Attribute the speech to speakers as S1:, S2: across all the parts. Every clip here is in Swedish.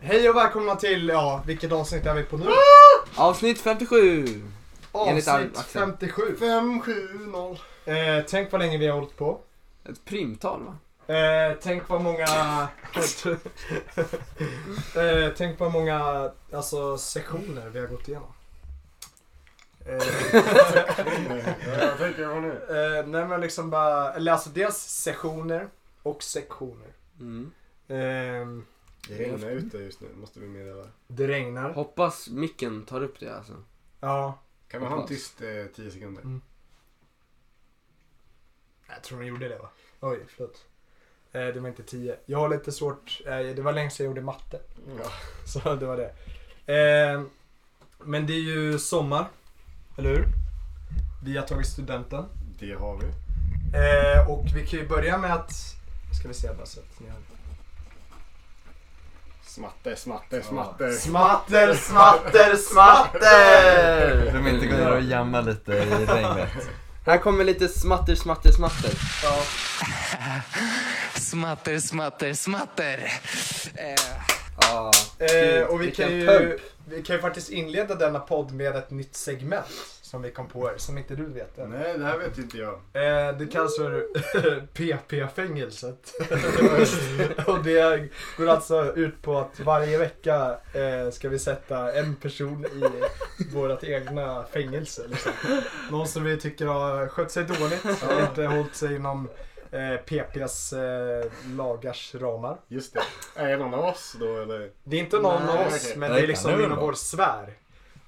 S1: Hej och välkomna till, ja, vilket avsnitt är vi på nu?
S2: Avsnitt 57! Enligt Ar-
S1: Avsnitt
S2: Axel.
S1: 57.
S3: 570.
S1: Eh, tänk vad länge vi har hållit på.
S2: Ett primtal va?
S1: Eh, tänk vad många... eh, tänk vad många alltså, sektioner vi har gått igenom. Eh,
S3: Jag tänker på nu.
S1: eh, nej men liksom bara, eller alltså dels sessioner och sektioner.
S2: Mm.
S1: Ehm,
S3: Det regnar ute just nu, måste vi meddela.
S1: det regnar.
S2: Hoppas micken tar upp det alltså.
S1: Ja.
S3: Kan man ha en tyst eh, 10 sekunder?
S1: Jag tror ni gjorde det va? Oj, förlåt. Eh, det var inte 10. Jag har lite svårt, eh, det var länge sedan jag gjorde matte.
S3: Ja.
S1: Så det var det. Eh, men det är ju sommar, eller hur? Vi har tagit studenten.
S3: Det har vi.
S1: Eh, och vi kan ju börja med att... Ska vi se bara så att ni har...
S3: Smatter, smatter,
S2: Eh.
S3: smatter.
S1: Smatter, smatter, smatter!
S4: De inte gå ner och jamma lite i regnet.
S2: Här kommer lite smatter, smatter, smatter.
S1: Ja,
S5: Smatter, smatter, smatter.
S2: Eh. Ah,
S1: eh, och vi
S2: Vilken
S1: kan, ju,
S2: pump.
S1: vi kan ju faktiskt inleda denna podd med ett nytt segment som vi kom på här, som inte du vet än.
S3: Nej, det här vet ju inte jag.
S1: Eh, det kallas för PP-fängelset. och det går alltså ut på att varje vecka eh, ska vi sätta en person i vårt egna fängelse. Liksom. Någon som vi tycker har skött sig dåligt, har inte hållit sig inom eh, PPs eh, lagars ramar.
S3: Just det. Är det någon av oss då eller?
S1: Det är inte någon
S3: Nej,
S1: av oss,
S3: okej.
S1: men
S4: Nej,
S1: det är
S4: det kan
S1: liksom
S4: det väl
S1: inom
S4: vara.
S1: vår sfär.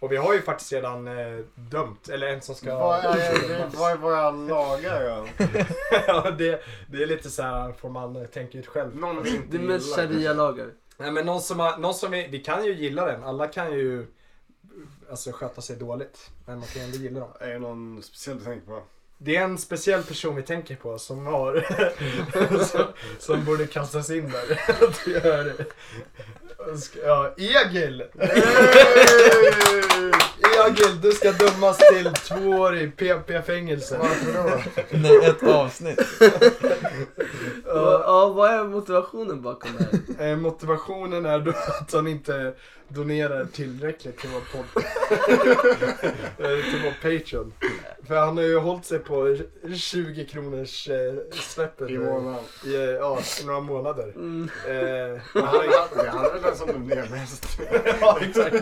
S1: Och vi har ju faktiskt redan eh, dömt, eller en som ska...
S3: Vad är, det- vad är våra lagar då?
S1: ja, det, det är lite så här får man tänka ut själv.
S3: Någon vi inte
S2: det är med
S3: gillar.
S2: sharia-lagar.
S1: Nej men någon som, har, någon som vi, vi kan ju gilla den. Alla kan ju alltså, sköta sig dåligt. Men man kan ju ändå gilla dem.
S3: Är det någon speciell du tänker på?
S1: Det är en speciell person vi tänker på som har som, som borde kastas in där. det är det. Ja, Egil! Egil, du ska dömas till två år i PP-fängelse.
S3: Varför då?
S4: Nej, ett avsnitt.
S2: Ja, ah, vad är motivationen bakom det här?
S1: Eh, Motivationen är då att han inte donerar tillräckligt till vår podd. Eh, till vår Patreon. För han har ju hållit sig på 20 kronors eh, släppet
S3: I
S1: nu
S3: månaden.
S1: i eh, ja, några månader.
S2: Mm.
S1: Eh,
S3: Men Han är han är väl den som donerar mest.
S1: ja, exakt.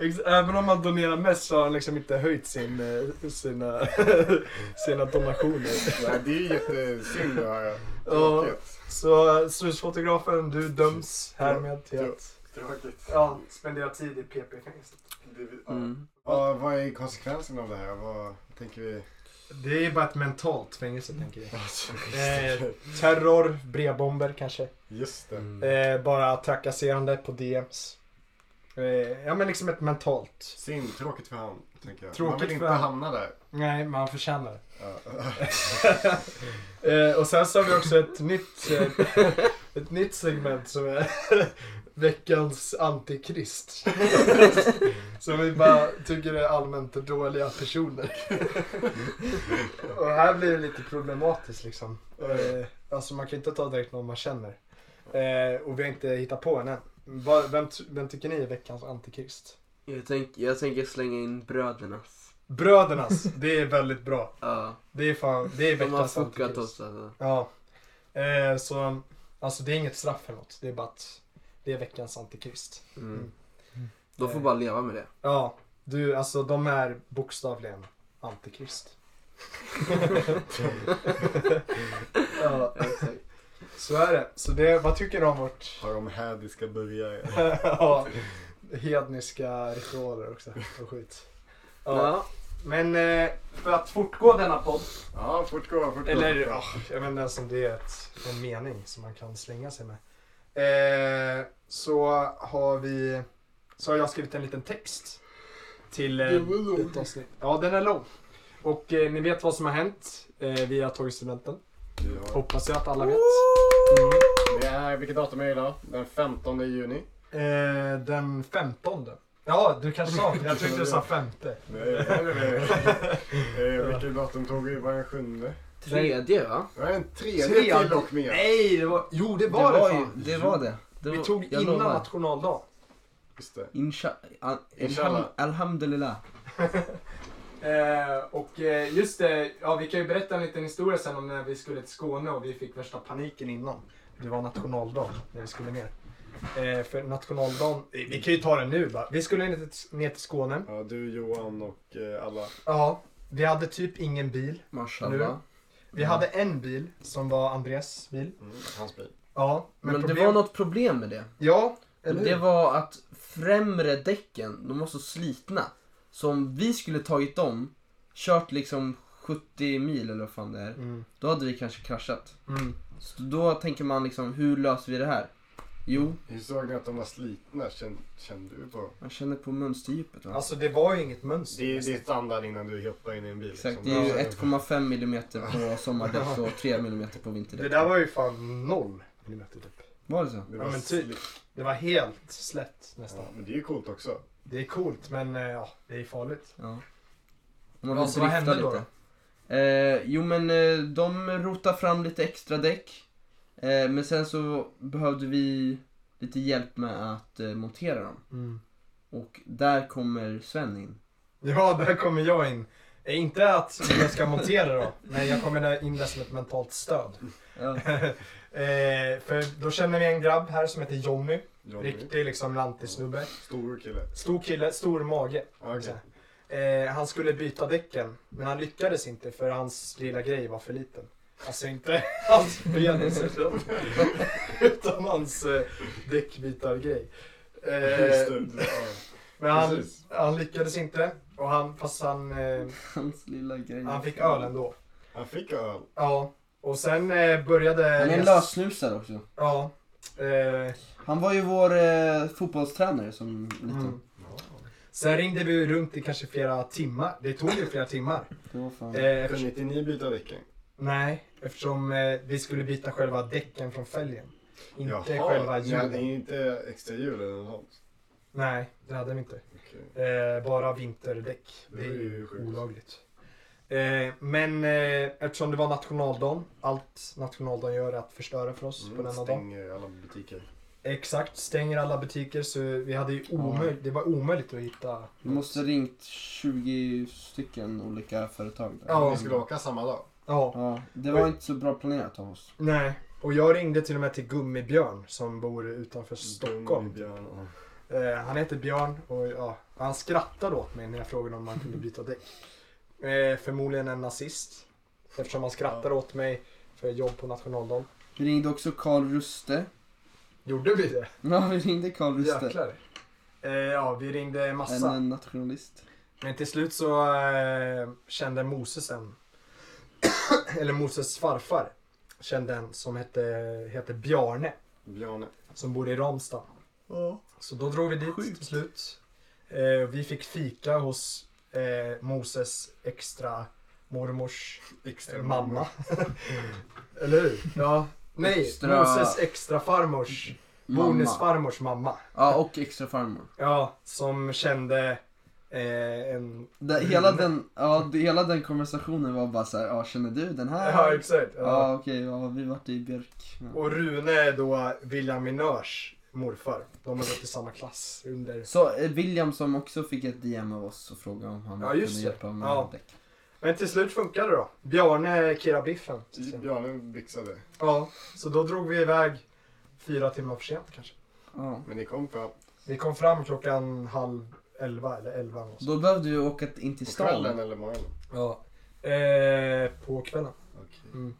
S1: Ex- Även om han donerar mest så har han liksom inte höjt sin, eh, sina, sina donationer.
S3: Nej, det är ju jättesynd att höra.
S1: Ja.
S3: Tråkigt.
S1: Så eh, snusfotografen, du döms härmed till att
S3: Tråkigt.
S1: ja, spendera tid i PP-fängelset.
S3: Det- ja.
S2: Mm.
S3: Vad, vad är konsekvensen av det här? Vad tänker vi?
S1: Det är bara ett mentalt fängelse tänker jag.
S3: Alltså,
S1: Eh, terror, brevbomber kanske.
S3: Just det.
S2: Mm.
S1: Eh, bara trakasserande på DMs. Eh, ja men liksom ett mentalt.
S3: Synd, tråkigt för han, tänker jag.
S1: Tråkigt
S3: man vill
S1: för
S3: inte
S1: han.
S3: hamna där.
S1: Nej, man förtjänar det.
S3: Ja.
S1: eh, och sen så har vi också ett nytt, eh, ett nytt segment som är veckans antikrist. som vi bara tycker är allmänt dåliga personer. och här blir det lite problematiskt liksom. Eh, alltså man kan inte ta direkt någon man känner. Eh, och vi har inte hittat på henne. Va, vem, t- vem tycker ni är veckans antikrist?
S2: Jag, tänk, jag tänker slänga in brödernas.
S1: Brödernas, det är väldigt bra.
S2: Ja,
S1: Det är fan, det är
S2: de har
S1: veckans
S2: fuckat
S1: antikrist.
S2: oss alltså.
S1: Ja. Eh, så, alltså det är inget straff eller något. Det är bara att det är veckans antikrist.
S2: Mm. De får bara leva med det.
S1: Ja, du, alltså de är bokstavligen antikrist. ja,
S2: Ja, exakt.
S1: så är det. Så det, vad tycker du om vårt
S3: Har de hädiska burgare?
S1: ja, hedniska ritualer också och skit. Ja.
S2: Ja.
S1: Men eh, för att fortgå denna podd,
S3: Ja, fortgå, fortgå.
S1: eller ja,
S3: ja.
S1: jag vet inte ens om det är ett, en mening som man kan slänga sig med. Eh, så har vi, så har jag skrivit en liten text till eh,
S3: Den var lång.
S1: ett avsnitt. Ja, den är lång. Och eh, ni vet vad som har hänt. Eh, vi har tagit studenten. Hoppas jag att alla vet. Mm.
S3: Det är, vilket datum är det idag? Den 15 juni.
S1: Eh, den 15. Ja, du kanske sa. Jag tyckte du sa femte.
S3: Nej, nej, nej, nej. Eh, Vilket datum tog vi? Var den sjunde?
S2: Tredje va?
S3: Det var den tredje
S1: Tredje.
S3: till och med.
S1: Nej, det var... Jo, det
S4: Det
S1: var det,
S4: var,
S1: fan.
S4: ju, det var det.
S2: Det
S1: Vi
S2: var-
S1: tog
S2: jag
S1: innan
S2: lovar.
S1: nationaldagen.
S3: Just det.
S2: Insha... al-
S3: Inshallah.
S2: alham- Alhamdulillah.
S1: Eh, och eh, just det, ja, vi kan ju berätta en liten historia sen om när vi skulle till Skåne och vi fick värsta paniken innan. Det var nationaldagen när vi skulle ner. Eh, för nationaldagen, vi kan ju ta den nu bara. Vi skulle ner till, ner till Skåne.
S3: Ja, du, Johan och eh, alla.
S1: Ja, vi hade typ ingen bil.
S2: Mashallah.
S1: Vi
S2: Mm.
S1: hade en bil som var Andreas bil.
S3: Mm, hans bil.
S1: Ja,
S2: Men, det var något problem med det.
S1: Ja, eller hur?
S2: Det var att främre däcken, de var så slitna. Så om vi skulle tagit dem, kört liksom 70 mil eller vad fan det är,
S1: Mm,
S2: då hade vi kanske kraschat.
S1: mm.
S2: Så då tänker man liksom, hur löser vi det här? Jo,
S3: Hur såg ni att de var slitna? Kände, kände du på?
S2: man känner på mönsterdjupet va?
S1: Alltså det var ju inget mönster.
S3: Det är ju din standard innan du hoppar in i en bil.
S2: Exakt, det
S3: liksom.
S2: är ju
S3: Ja.
S2: 1,5 mm på sommardäck och 3 mm på
S1: Det
S2: vinterdäck.
S1: där var ju fan noll millimeter typ.
S2: Var det så?
S3: Det
S1: Ja,
S3: var
S1: men typ.
S3: slick.
S1: Det var helt slätt nästan.
S3: Ja, men det är ju coolt också.
S1: Det är coolt men eh, ja, det är farligt.
S2: Ja. Om man
S1: Ja,
S2: vill
S1: så vad
S2: drifta
S1: hände då
S2: lite. Eh, jo men eh, de rotar fram lite extra däck. Eh, men sen så behövde vi lite hjälp med att eh, montera dem.
S1: Mm.
S2: Och där kommer Sven in.
S1: Ja, där kommer jag in. Eh, Inte att jag ska montera då, men jag kommer där in där som ett mentalt stöd.
S2: Ja.
S1: eh, för då känner vi en grabb här som heter Jonny.
S3: Johnny.
S1: Riktig liksom lantisnubbe.
S3: Stor kille.
S1: Stor kille, stor mage.
S3: Ja,
S1: Så
S3: Okej.
S1: här. Eh, han skulle byta däcken, men han lyckades inte för hans lilla grej var för liten. Alltså inte hans ben i sig själv, utan hans eh, däckbytargrej. Eh,
S3: Just det. Ja.
S1: men han,
S3: Precis.
S1: han lyckades inte, och han, fast han, eh,
S2: Hans lilla grej.
S1: han fick öl ändå.
S3: Han fick öl.
S1: Ja, och sen eh, började...
S2: Han är en lössnusare också.
S1: Ja. Eh,
S2: Han var ju vår eh, fotbollstränare som liten.
S1: mm. Sen ringde vi runt i kanske flera timmar. Det tog ju flera timmar.
S2: Det var fan.
S1: Eh,
S3: Kunde
S1: eftersom,
S3: inte ni byta däcken?
S1: nej, eftersom eh, vi skulle byta själva däcken från fälgen. Inte själva
S3: ni hade
S1: hjulen.
S3: inte extra hjul eller något sånt?
S1: Nej, det hade vi inte.
S3: Okej.
S1: Eh, bara vinterdäck. Det är ju
S3: sjukt.
S1: olagligt. Eh, men eh, eftersom det var nationaldagen, allt nationaldagen gör är att förstöra för oss på
S3: Mm,
S1: denna dag.
S3: stänger alla butiker.
S1: Exakt, stänger alla butiker så vi hade ju omöjligt, det var omöjligt att hitta.
S2: Vi måste ha ringt 20 stycken olika företag. Där.
S1: Ja.
S3: Ni skulle åka samma dag?
S1: Ja,
S2: ja. Det var inte så bra planerat av oss.
S1: nej. Och jag ringde till och med till Gummibjörn som bor utanför
S2: Mm,
S1: Stockholm.
S3: Gummibjörn och-
S1: Eh, han heter Björn och ja, han skrattade åt mig när jag frågade om man kunde byta däck. Eh, förmodligen en nazist. Eftersom han skrattade åt mig för jobb på nationaldagen.
S2: Vi ringde också Karl Ruste.
S1: Gjorde vi det?
S2: Ja, vi ringde Karl Ruste.
S1: Jäklar. Eh, ja, vi ringde
S2: En,
S1: massa.
S2: en nationalist.
S1: Men till slut så eh, kände Moses en, eller Moses farfar, kände en som hette, hette Bjarne
S3: Bjarne.
S1: som bodde i Ramstad. Så då drog vi dit till slut. Eh, vi fick fika hos eh, Moses extra mormors
S3: Extra
S1: eh, mamma. eller hur? Ja. Nej,
S2: Extra-
S1: Moses extra farmors,
S2: Mamma.
S1: bonusfarmors mamma.
S2: Ja, och extra farmor.
S1: Ja, som kände eh, en
S2: Det, hela, den, ja, det, hela den konversationen var bara så här, ja känner du den här?
S1: Ja, exakt. Ja.
S2: Ah. Ja, okej, ja, vi vart i Björk. Ja.
S1: Och Rune är då William Minörs morfar. De har gått i samma klass under...
S2: Så eh, William som också fick ett DM av oss och frågade om han
S1: Ja,
S2: kunde
S1: just det.
S2: hjälpa med
S1: Ja.
S2: däck.
S1: Men till slut funkade det då. Bjarne Kira Biffen.
S3: Typ, Bjarne byxade.
S1: Ja, så då drog vi iväg fyra timmar för sent kanske.
S2: Ja.
S3: Men ni kom fram.
S1: Vi kom fram klockan halv elva eller elva. eller något sånt.
S2: Då behövde vi åka in till
S3: På kvällen
S2: stan.
S3: eller morgonen?
S1: Ja. Eh, på kvällen.
S3: Okej.
S1: Mm.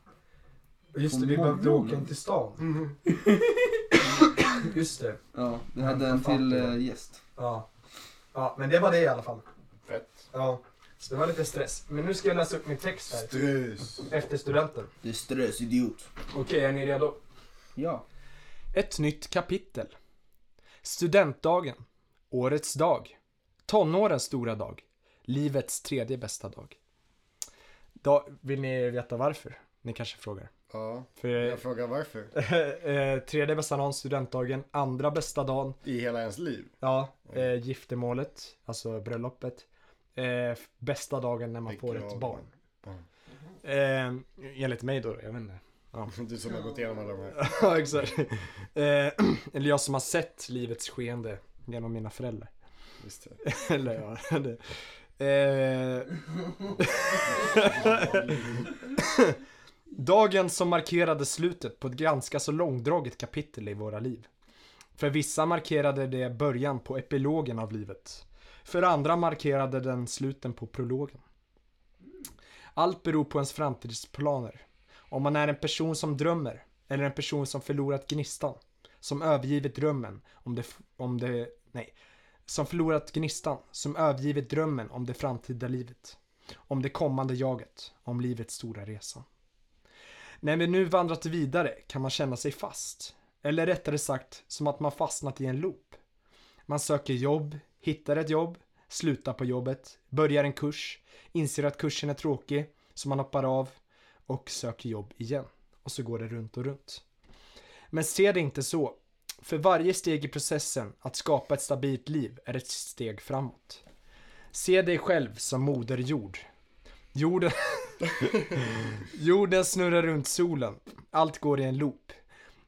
S1: Och Just
S2: På
S1: det, vi behövde
S2: morgonen.
S1: åka in till stan. Just det.
S2: Ja, vi hade en till eh, gäst.
S1: Ja. ja, men det var det i alla fall.
S3: Fett.
S1: Ja, så det var lite stress. Men nu ska jag läsa upp min text här.
S3: Strös.
S1: Efter studenten.
S2: Du strösidiot.
S1: Okej, är ni redo?
S2: Ja.
S1: Ett nytt kapitel. Studentdagen. Årets dag. Tonårens stora dag. Livets tredje bästa dag. Da, vill ni veta varför? Ni kanske frågar.
S3: Ja.
S1: För,
S3: Jag frågar varför.
S1: eh, tredje bästa dagen, studentdagen. Andra bästa dagen,
S3: I hela ens liv.
S1: ja, eh, giftermålet, alltså bröllopet. Eh, f- bästa dagen när man får ett
S3: Begravning.
S1: barn.
S3: Barn.
S1: Eh, enligt mig då, jag vet inte. Ja. Ja.
S3: Du som har gått igenom alla de här.
S1: ja, exakt. Eh, eller jag som har sett livets skeende genom mina föräldrar.
S3: Visst det.
S1: eller ja, det. Eh, Dagen som markerade slutet på ett ganska så långdraget kapitel i våra liv. För vissa markerade det början på epilogen av livet. För andra markerade den sluten på prologen. Allt beror på ens framtidsplaner. Om man är en person som drömmer, eller en person som förlorat gnistan. Som övergivit drömmen om det, om det, nej. Som förlorat gnistan, som övergivit drömmen om det framtida livet. Om det kommande jaget, om livets stora resa. När vi nu vandrat vidare kan man känna sig fast. Eller rättare sagt, som att man fastnat i en loop. Man söker jobb, hittar ett jobb, slutar på jobbet, börjar en kurs, inser att kursen är tråkig, så man hoppar av och söker jobb igen. Och så går det runt och runt. Men se det inte så. För varje steg i processen att skapa ett stabilt liv är ett steg framåt. Se dig själv som moder jord. Jorden Jorden snurrar runt solen. Allt går i en loop.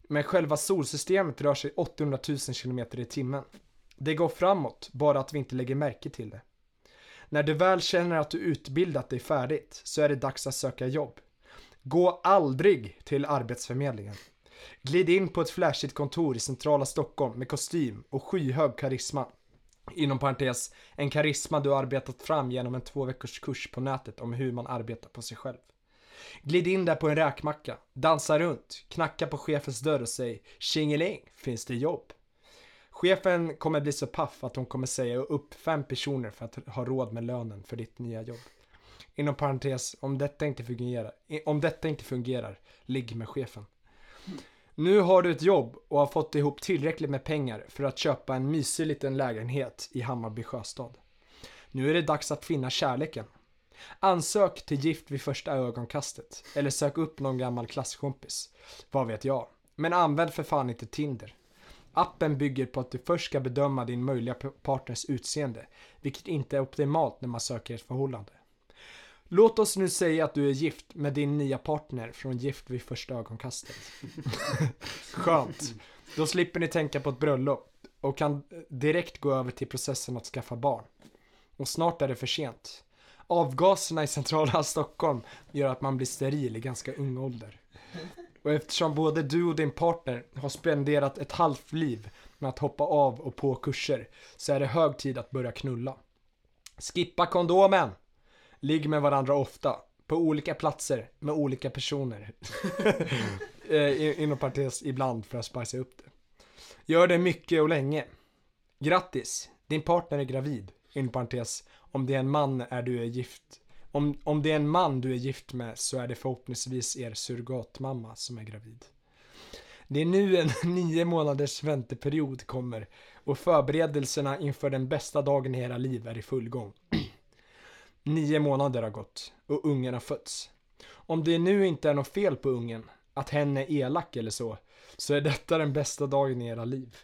S1: Men själva solsystemet rör sig 800 000 km i timmen. Det går framåt, bara att vi inte lägger märke till det. När du väl känner att du utbildat dig färdigt så är det dags att söka jobb. Gå aldrig till Arbetsförmedlingen. Glid in på ett flashigt kontor i centrala Stockholm med kostym och skyhög karisma. Inom parentes, en karisma du arbetat fram genom en två veckors kurs på nätet om hur man arbetar på sig själv. Glid in där på en räkmacka, dansa runt, knacka på chefens dörr och säg tjingeling, finns det jobb? Chefen kommer bli så paff att hon kommer säga upp fem personer för att ha råd med lönen för ditt nya jobb. Inom parentes, om detta inte fungerar, i- om detta inte fungerar, ligg med chefen. Nu har du ett jobb och har fått ihop tillräckligt med pengar för att köpa en mysig liten lägenhet i Hammarby sjöstad. Nu är det dags att finna kärleken. Ansök till Gift vid första ögonkastet. Eller sök upp någon gammal klasskompis. Vad vet jag. Men använd för fan inte Tinder. Appen bygger på att du först ska bedöma din möjliga p- partners utseende, vilket inte är optimalt när man söker ett förhållande. Låt oss nu säga att du är gift med din nya partner från Gift vid första ögonkastet. Skönt. Då slipper ni tänka på ett bröllop och kan direkt gå över till processen att skaffa barn. Och snart är det för sent. Avgaserna i centrala Stockholm gör att man blir steril i ganska ung ålder. Och eftersom både du och din partner har spenderat ett halvt liv med att hoppa av och på kurser så är det hög tid att börja knulla. Skippa kondomen! Ligg med varandra ofta, på olika platser, med olika personer. Eh, i- Inom parentes, ibland för att spicea upp det. Gör det mycket och länge. Grattis! Din partner är gravid. Inom parentes, om det är en man är du är gift. Om, om det är en man du är gift med så är det förhoppningsvis er surrogatmamma som är gravid. Det är nu en nio månaders vänteperiod kommer och förberedelserna inför den bästa dagen i era liv är i full gång. Nio månader har gått och ungen har fötts. Om det nu inte är något fel på ungen, att hen är elak eller så, så är detta den bästa dagen i era liv.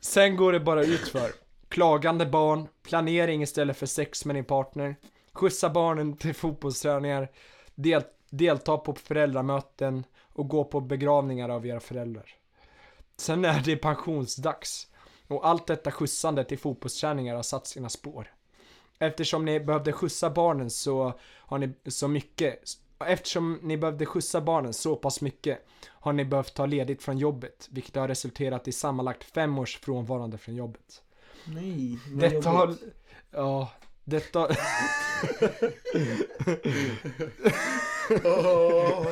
S1: Sen går det bara utför. Klagande barn, planering istället för sex med din partner, skjutsa barnen till fotbollsträningar, del- delta på föräldramöten och gå på begravningar av era föräldrar. Sen är det pensionsdags och allt detta skjutsande till fotbollsträningar har satt sina spår. Eftersom ni behövde skjutsa barnen så har ni så mycket Eftersom ni behövde skjutsa barnen så pass mycket har ni behövt ta ledigt från jobbet, vilket har resulterat i sammanlagt fem års frånvarande från jobbet.
S2: Nej,
S1: Detta har... Ja, detta...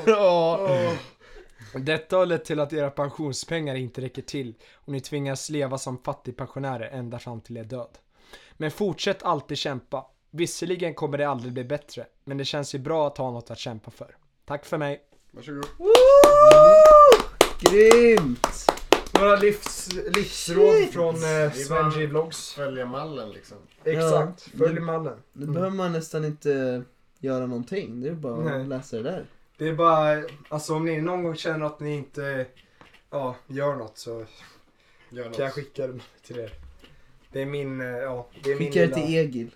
S1: ja. Detta har lett till att era pensionspengar inte räcker till och ni tvingas leva som fattigpensionärer ända fram till er död. Men fortsätt alltid kämpa. Visserligen kommer det aldrig bli bättre, men det känns ju bra att ha något att kämpa för. Tack för mig.
S3: Varsågod.
S2: Grymt!
S1: Några livs, livsråd från eh,
S3: Sven G.
S1: Vlogs.
S3: Följa mallen liksom.
S2: Exakt. Följ
S1: mannen.
S2: Nu behöver man nästan inte göra någonting. Det är bara att
S1: Nej.
S2: läsa det där.
S1: Det är bara, alltså om ni någon gång känner att ni inte ja, gör något så
S3: Gör något.
S1: kan jag skicka det till er. Det är min, eh, ja, det är min
S2: Skicka det
S1: lilla-
S2: till Egil.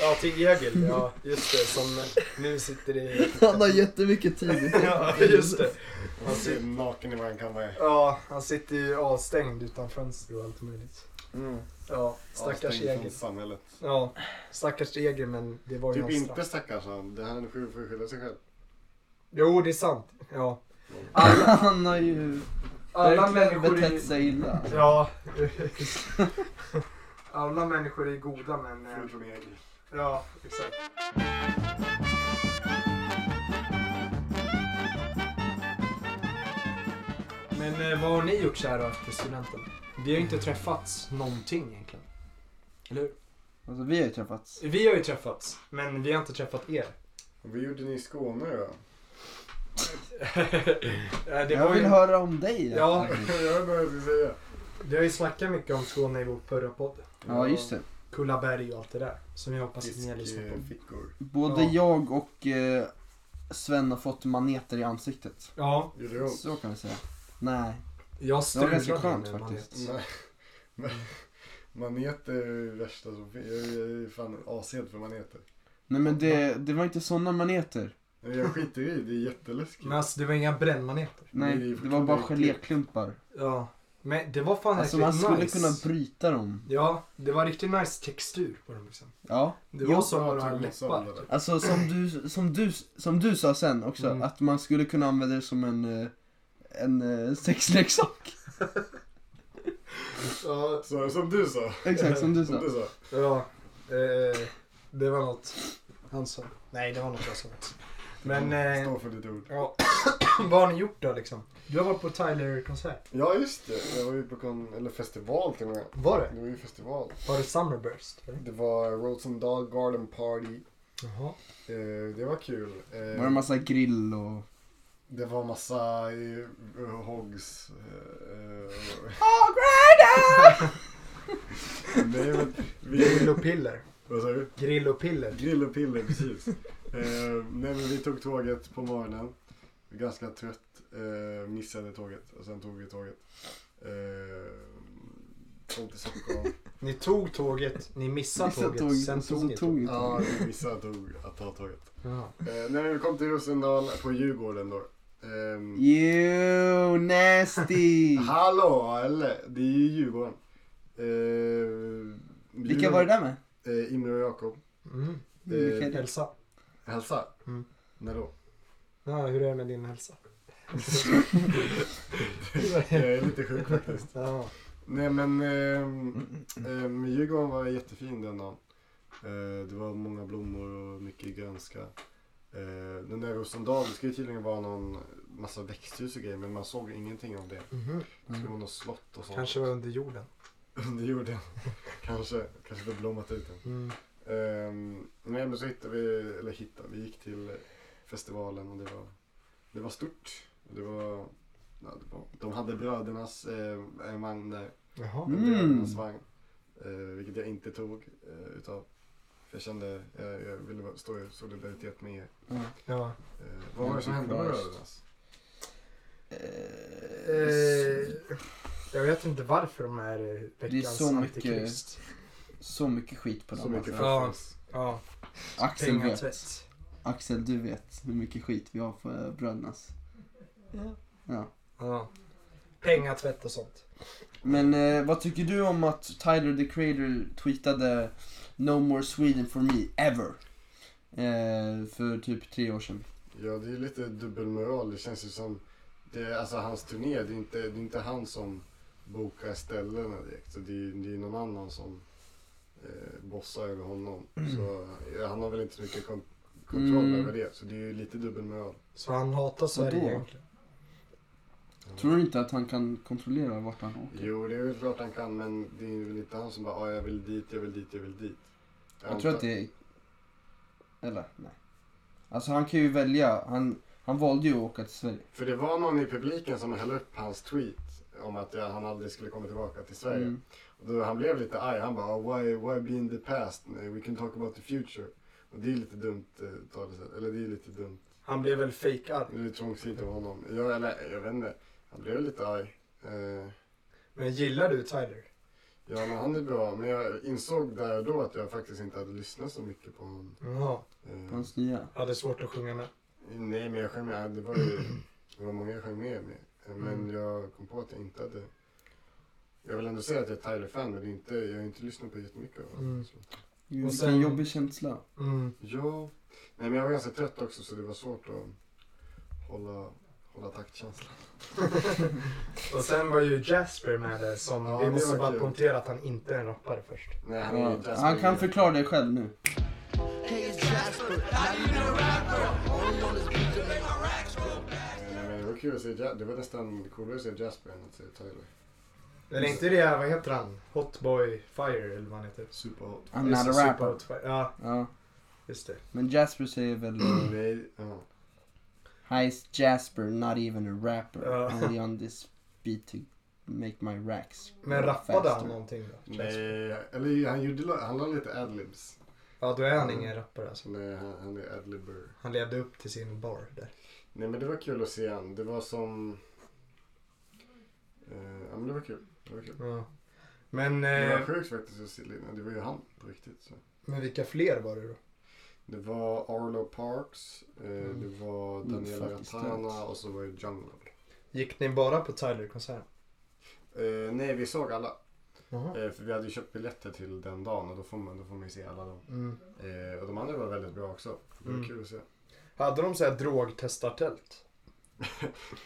S1: Ja, till Egil. Ja, just det. Som nu sitter i...
S2: Han har jättemycket tid.
S1: Ja, just det.
S3: Han ser naken i varje kammare.
S1: Ja, han sitter ju avstängd utan fönster och allt möjligt. Ja, stackars
S3: Avstängd
S1: Egil.
S3: från samhället.
S1: Ja, stackars Egil men det var ju
S3: Typ
S1: hans straff.
S3: inte stackars han. Det här är skyld för att skylla sig själv.
S1: Jo, det är sant. Ja.
S2: Han har ju
S1: Alla
S2: verkligen
S1: människor är...
S2: betett sig illa.
S1: Ja. Alla människor är goda men... eh,
S3: Förutom Egil.
S1: Ja, exakt. Men eh, vad har ni gjort så här då efter studenten? Vi har ju inte träffats någonting egentligen. Eller hur?
S2: Alltså vi har ju träffats.
S1: Vi har ju träffats, men vi har inte träffat er.
S3: Vad gjorde ni i Skåne då?
S1: Eh, det
S2: Jag
S1: var
S2: vill
S1: ju...
S2: höra om dig.
S1: Ja.
S2: faktiskt.
S3: Jag började säga.
S1: Vi har ju snackat mycket om Skåne i vår förra podd.
S2: ja, just det.
S1: Kullaberg och allt det där. Som jag hoppas att ni har lyssnat på.
S3: Fiskfickor.
S2: Både
S1: Ja.
S2: jag och eh, Sven har fått maneter i ansiktet.
S1: Ja,
S3: Gjorde det ont?
S2: Så kan vi säga. Nej.
S1: jag
S2: Det var ganska
S1: strulade
S2: skönt
S1: med
S2: faktiskt.
S3: Nej. Men- Maneter är ju det värsta som finns. Jag är- jag är fan ashed för maneter.
S2: Nej men det, det var inte sådana maneter.
S3: Men Jag skiter i, det är jätteläskigt.
S1: Men alltså det var inga brännmaneter.
S2: Nej,
S3: Nej, det är
S2: det var bara
S3: fortfarande äckligt.
S2: geléklumpar.
S1: Ja. Men det var fan
S2: Alltså man
S1: riktigt
S2: skulle
S1: nice.
S2: kunna bryta dem.
S1: Ja, det var riktigt nice textur på dem liksom.
S2: Ja,
S1: Det
S2: Jo,
S1: var som
S3: jag
S1: några
S3: tror jag sa
S1: läppar.
S3: det där.
S1: typ.
S2: alltså som du, som du, som du sa sen också,
S1: Mm.
S2: att man skulle kunna använda det som en, eh, en eh, sexleksak.
S1: Ja,
S3: Så, som du sa.
S2: Exakt som du
S3: Som
S2: sa.
S3: du sa.
S1: ja. Eh, det var något han sa. Nej, det var något jag sa också. Men, eh,
S3: Stå för ditt ord.
S1: ja. Vad har ni gjort då liksom? Du har varit på Tyler-konsert.
S3: Ja just det, jag var ju på kon- eller festival till och med.
S1: Var det?
S3: Det var ju festival.
S1: Var det Summerburst? Eller?
S3: Det var Roads and Dog Garden Party.
S1: Jaha.
S3: Eh, det var kul. Eh,
S2: Var det en massa grill och...
S3: det var massa eh, hogs. Eh, eh, nej, men,
S1: Grill
S3: vi,
S1: och piller.
S3: vad sa du?
S1: Grill och piller.
S3: Grill och piller, precis. Eh, nej men vi tog tåget på morgonen. Ganska trött. Eh, missade tåget och sen tog vi tåget. Eh, kom till Stockholm.
S2: Mm.
S1: Ni tog tåget, ni missade tåget, sen
S2: och
S1: tog ni
S2: så tog
S1: tåget.
S2: vi
S3: Ja,
S2: tåget.
S3: vi missade tåg, att ta tåget.
S1: Ja.
S3: Eh, när vi kom till Rosendal på Djurgården då. Ehm,
S2: You nasty!
S3: Hallå eller? Det är ju Djurgården. Eh,
S2: Vilka var det där med?
S3: där? Eh, Imre och Jakob.
S1: Mm.
S3: Eh,
S2: Vilka-
S1: Hälsa.
S3: hälsa?
S1: Mm.
S3: När då?
S1: Ja, hur är det med din hälsa?
S3: Jag är lite sjuk faktiskt.
S1: Ja.
S3: Nej men ehm, ehm, Djurgården var jättefin den dagen. Eh, det var många blommor och mycket grönska. Eh, den där Rosendal, det ska ju tydligen vara någon massa växthus och grejer men man såg ingenting av det. Det skulle vara något slott och sånt.
S1: Mhm. Mm. Kanske var under jorden.
S3: Under jorden. kanske. Kanske det blommat ut den.
S1: Mm.
S3: Ehm, nej men så hittade vi, eller hittade, vi gick till festivalen och det var, det var stort. Det var, ja, det var, de hade brödernas eh, en vagn där.
S1: Jaha.
S2: Mm.
S3: Brödernas vagn. Eh, vilket jag inte tog eh, utav. För jag kände, jag, jag ville bara stå i solidaritet med er.
S1: Ja.
S3: Eh, vad var det som hände med brödernas?
S2: Eh,
S1: Eh, jag vet inte varför de här eh,
S2: Det är
S1: veckans
S2: så mycket-
S1: antikrist.
S2: Så mycket skit på
S3: Så
S2: dem.
S3: mycket
S2: Alltså.
S1: Ja.
S3: fuffens.
S1: Ja,
S2: Axel vet.
S1: pengatvätt.
S2: Axel, du vet hur mycket skit vi har för brödernas. Ja.
S1: Ja. Pengatvätt och sånt.
S2: Men eh, vad tycker du om att Tyler the Creator tweetade No more Sweden for me, ever? Eh, för typ tre år sedan.
S3: Ja, det är lite dubbelmoral. Det känns ju som... Det är, alltså hans turné, det är, inte, det är inte han som bokar ställena direkt. Så det är, det är någon annan som eh, bossar över honom. Så ja, han har väl inte så mycket kon- kontroll
S2: Mm.
S3: över det. Så det är ju lite dubbelmoral.
S1: Så han hatar Sverige
S2: Vadå?
S1: egentligen.
S2: Tror du inte att han kan kontrollera vart han åker?
S3: Jo, det är väl klart han kan, men det är väl inte han som bara ah, jag vill dit, jag vill dit, jag vill dit.
S2: Jag tror att det är... Eller? Nej. Alltså han kan ju välja. Han, han valde ju att åka till Sverige.
S3: För det var någon i publiken som hällde upp hans tweet om att ja, han aldrig skulle komma tillbaka till Sverige.
S2: Mm.
S3: Och då, han blev lite arg. Han bara "Oh, why, why be in the past? We can talk about the future. Och det är lite dumt eh, talesätt. Eller det är lite dumt.
S1: Han blev väl fejkarg.
S3: Det är trångsynt av honom. Jag, eller jag vet inte. Han blev lite arg. Eh,
S1: Men gillar du Tyler?
S3: Ja, men han är bra. Men jag insåg där och då att jag faktiskt inte hade lyssnat så mycket på honom.
S1: Jaha.
S3: Eh,
S2: Hans nya.
S1: Ja, det är svårt att sjunga med.
S3: Nej, men jag sjöng med. Det var ju det var många jag sjöng med. med. Eh, Men
S1: Mm.
S3: jag kom på att jag inte hade... Jag vill ändå säga att jag är Tyler-fan, men det är inte, jag har inte lyssnat på jättemycket av honom.
S1: Mm.
S3: så.
S2: Vilken
S1: sen-
S2: jobbig känsla.
S1: Mm.
S3: Ja. Nej, men jag var ganska trött också, så det var svårt att hålla, hålla taktkänslan.
S1: Och sen var ju Jasper med där som,
S3: Ja,
S1: vi
S3: det
S1: måste
S3: var
S1: bara
S3: kul.
S1: poängtera att han inte är en rappare först.
S3: Nej, han, är ju
S2: Ja,
S3: Jasper
S2: han kan
S3: Lee.
S2: förklara det själv nu.
S3: Nej, men det var kul att se Ja- Det var nästan coolare att se Jasper än att se Tyler.
S1: Eller inte det, vad heter han? Hotboy Fire eller vad han heter.
S3: Superhot.
S2: I'm not a
S1: Just det,
S2: rapper.
S1: Superhot Fire. Ja,
S2: Ja.
S1: just det.
S2: Men Jasper säger väl
S3: Mm. Nej, ja.
S2: Heist Jasper, not even a rapper.
S1: Ja.
S2: Only on this beat to make my racks.
S1: Men
S2: go
S1: rappade han
S2: faster."
S1: någonting då?
S3: Nej, eller han gjorde, han la lite adlibs.
S1: Ja, då är han ingen rappare alltså.
S3: Så nej, han, han är adlibber.
S1: Han levde upp till sin bar där.
S3: Nej men det var kul att se han. Det var som... Eh, ja men det var kul. Det var kul.
S1: Ja. Men,
S3: Det var
S1: eh,
S3: sjukt faktiskt att se Lina. Det var ju han på riktigt. Så.
S1: men vilka fler var det då?
S3: Det var Arlo Parks, eh,
S1: Mm.
S3: det var
S2: Mm,
S3: Daniela
S2: faktiskt
S3: Ratana
S2: sant.
S3: och så var det Jungle.
S1: Gick ni bara på Tyler-konserten?
S3: Eh, nej vi såg alla.
S1: Jaha.
S3: Eh, för vi hade ju köpt biljetter till den dagen och då får man, då får man ju se alla dem.
S1: Mm.
S3: Eh, och de andra var väldigt bra också. Det var
S1: Mm.
S3: kul att se.
S1: Hade de så här drogtestartält?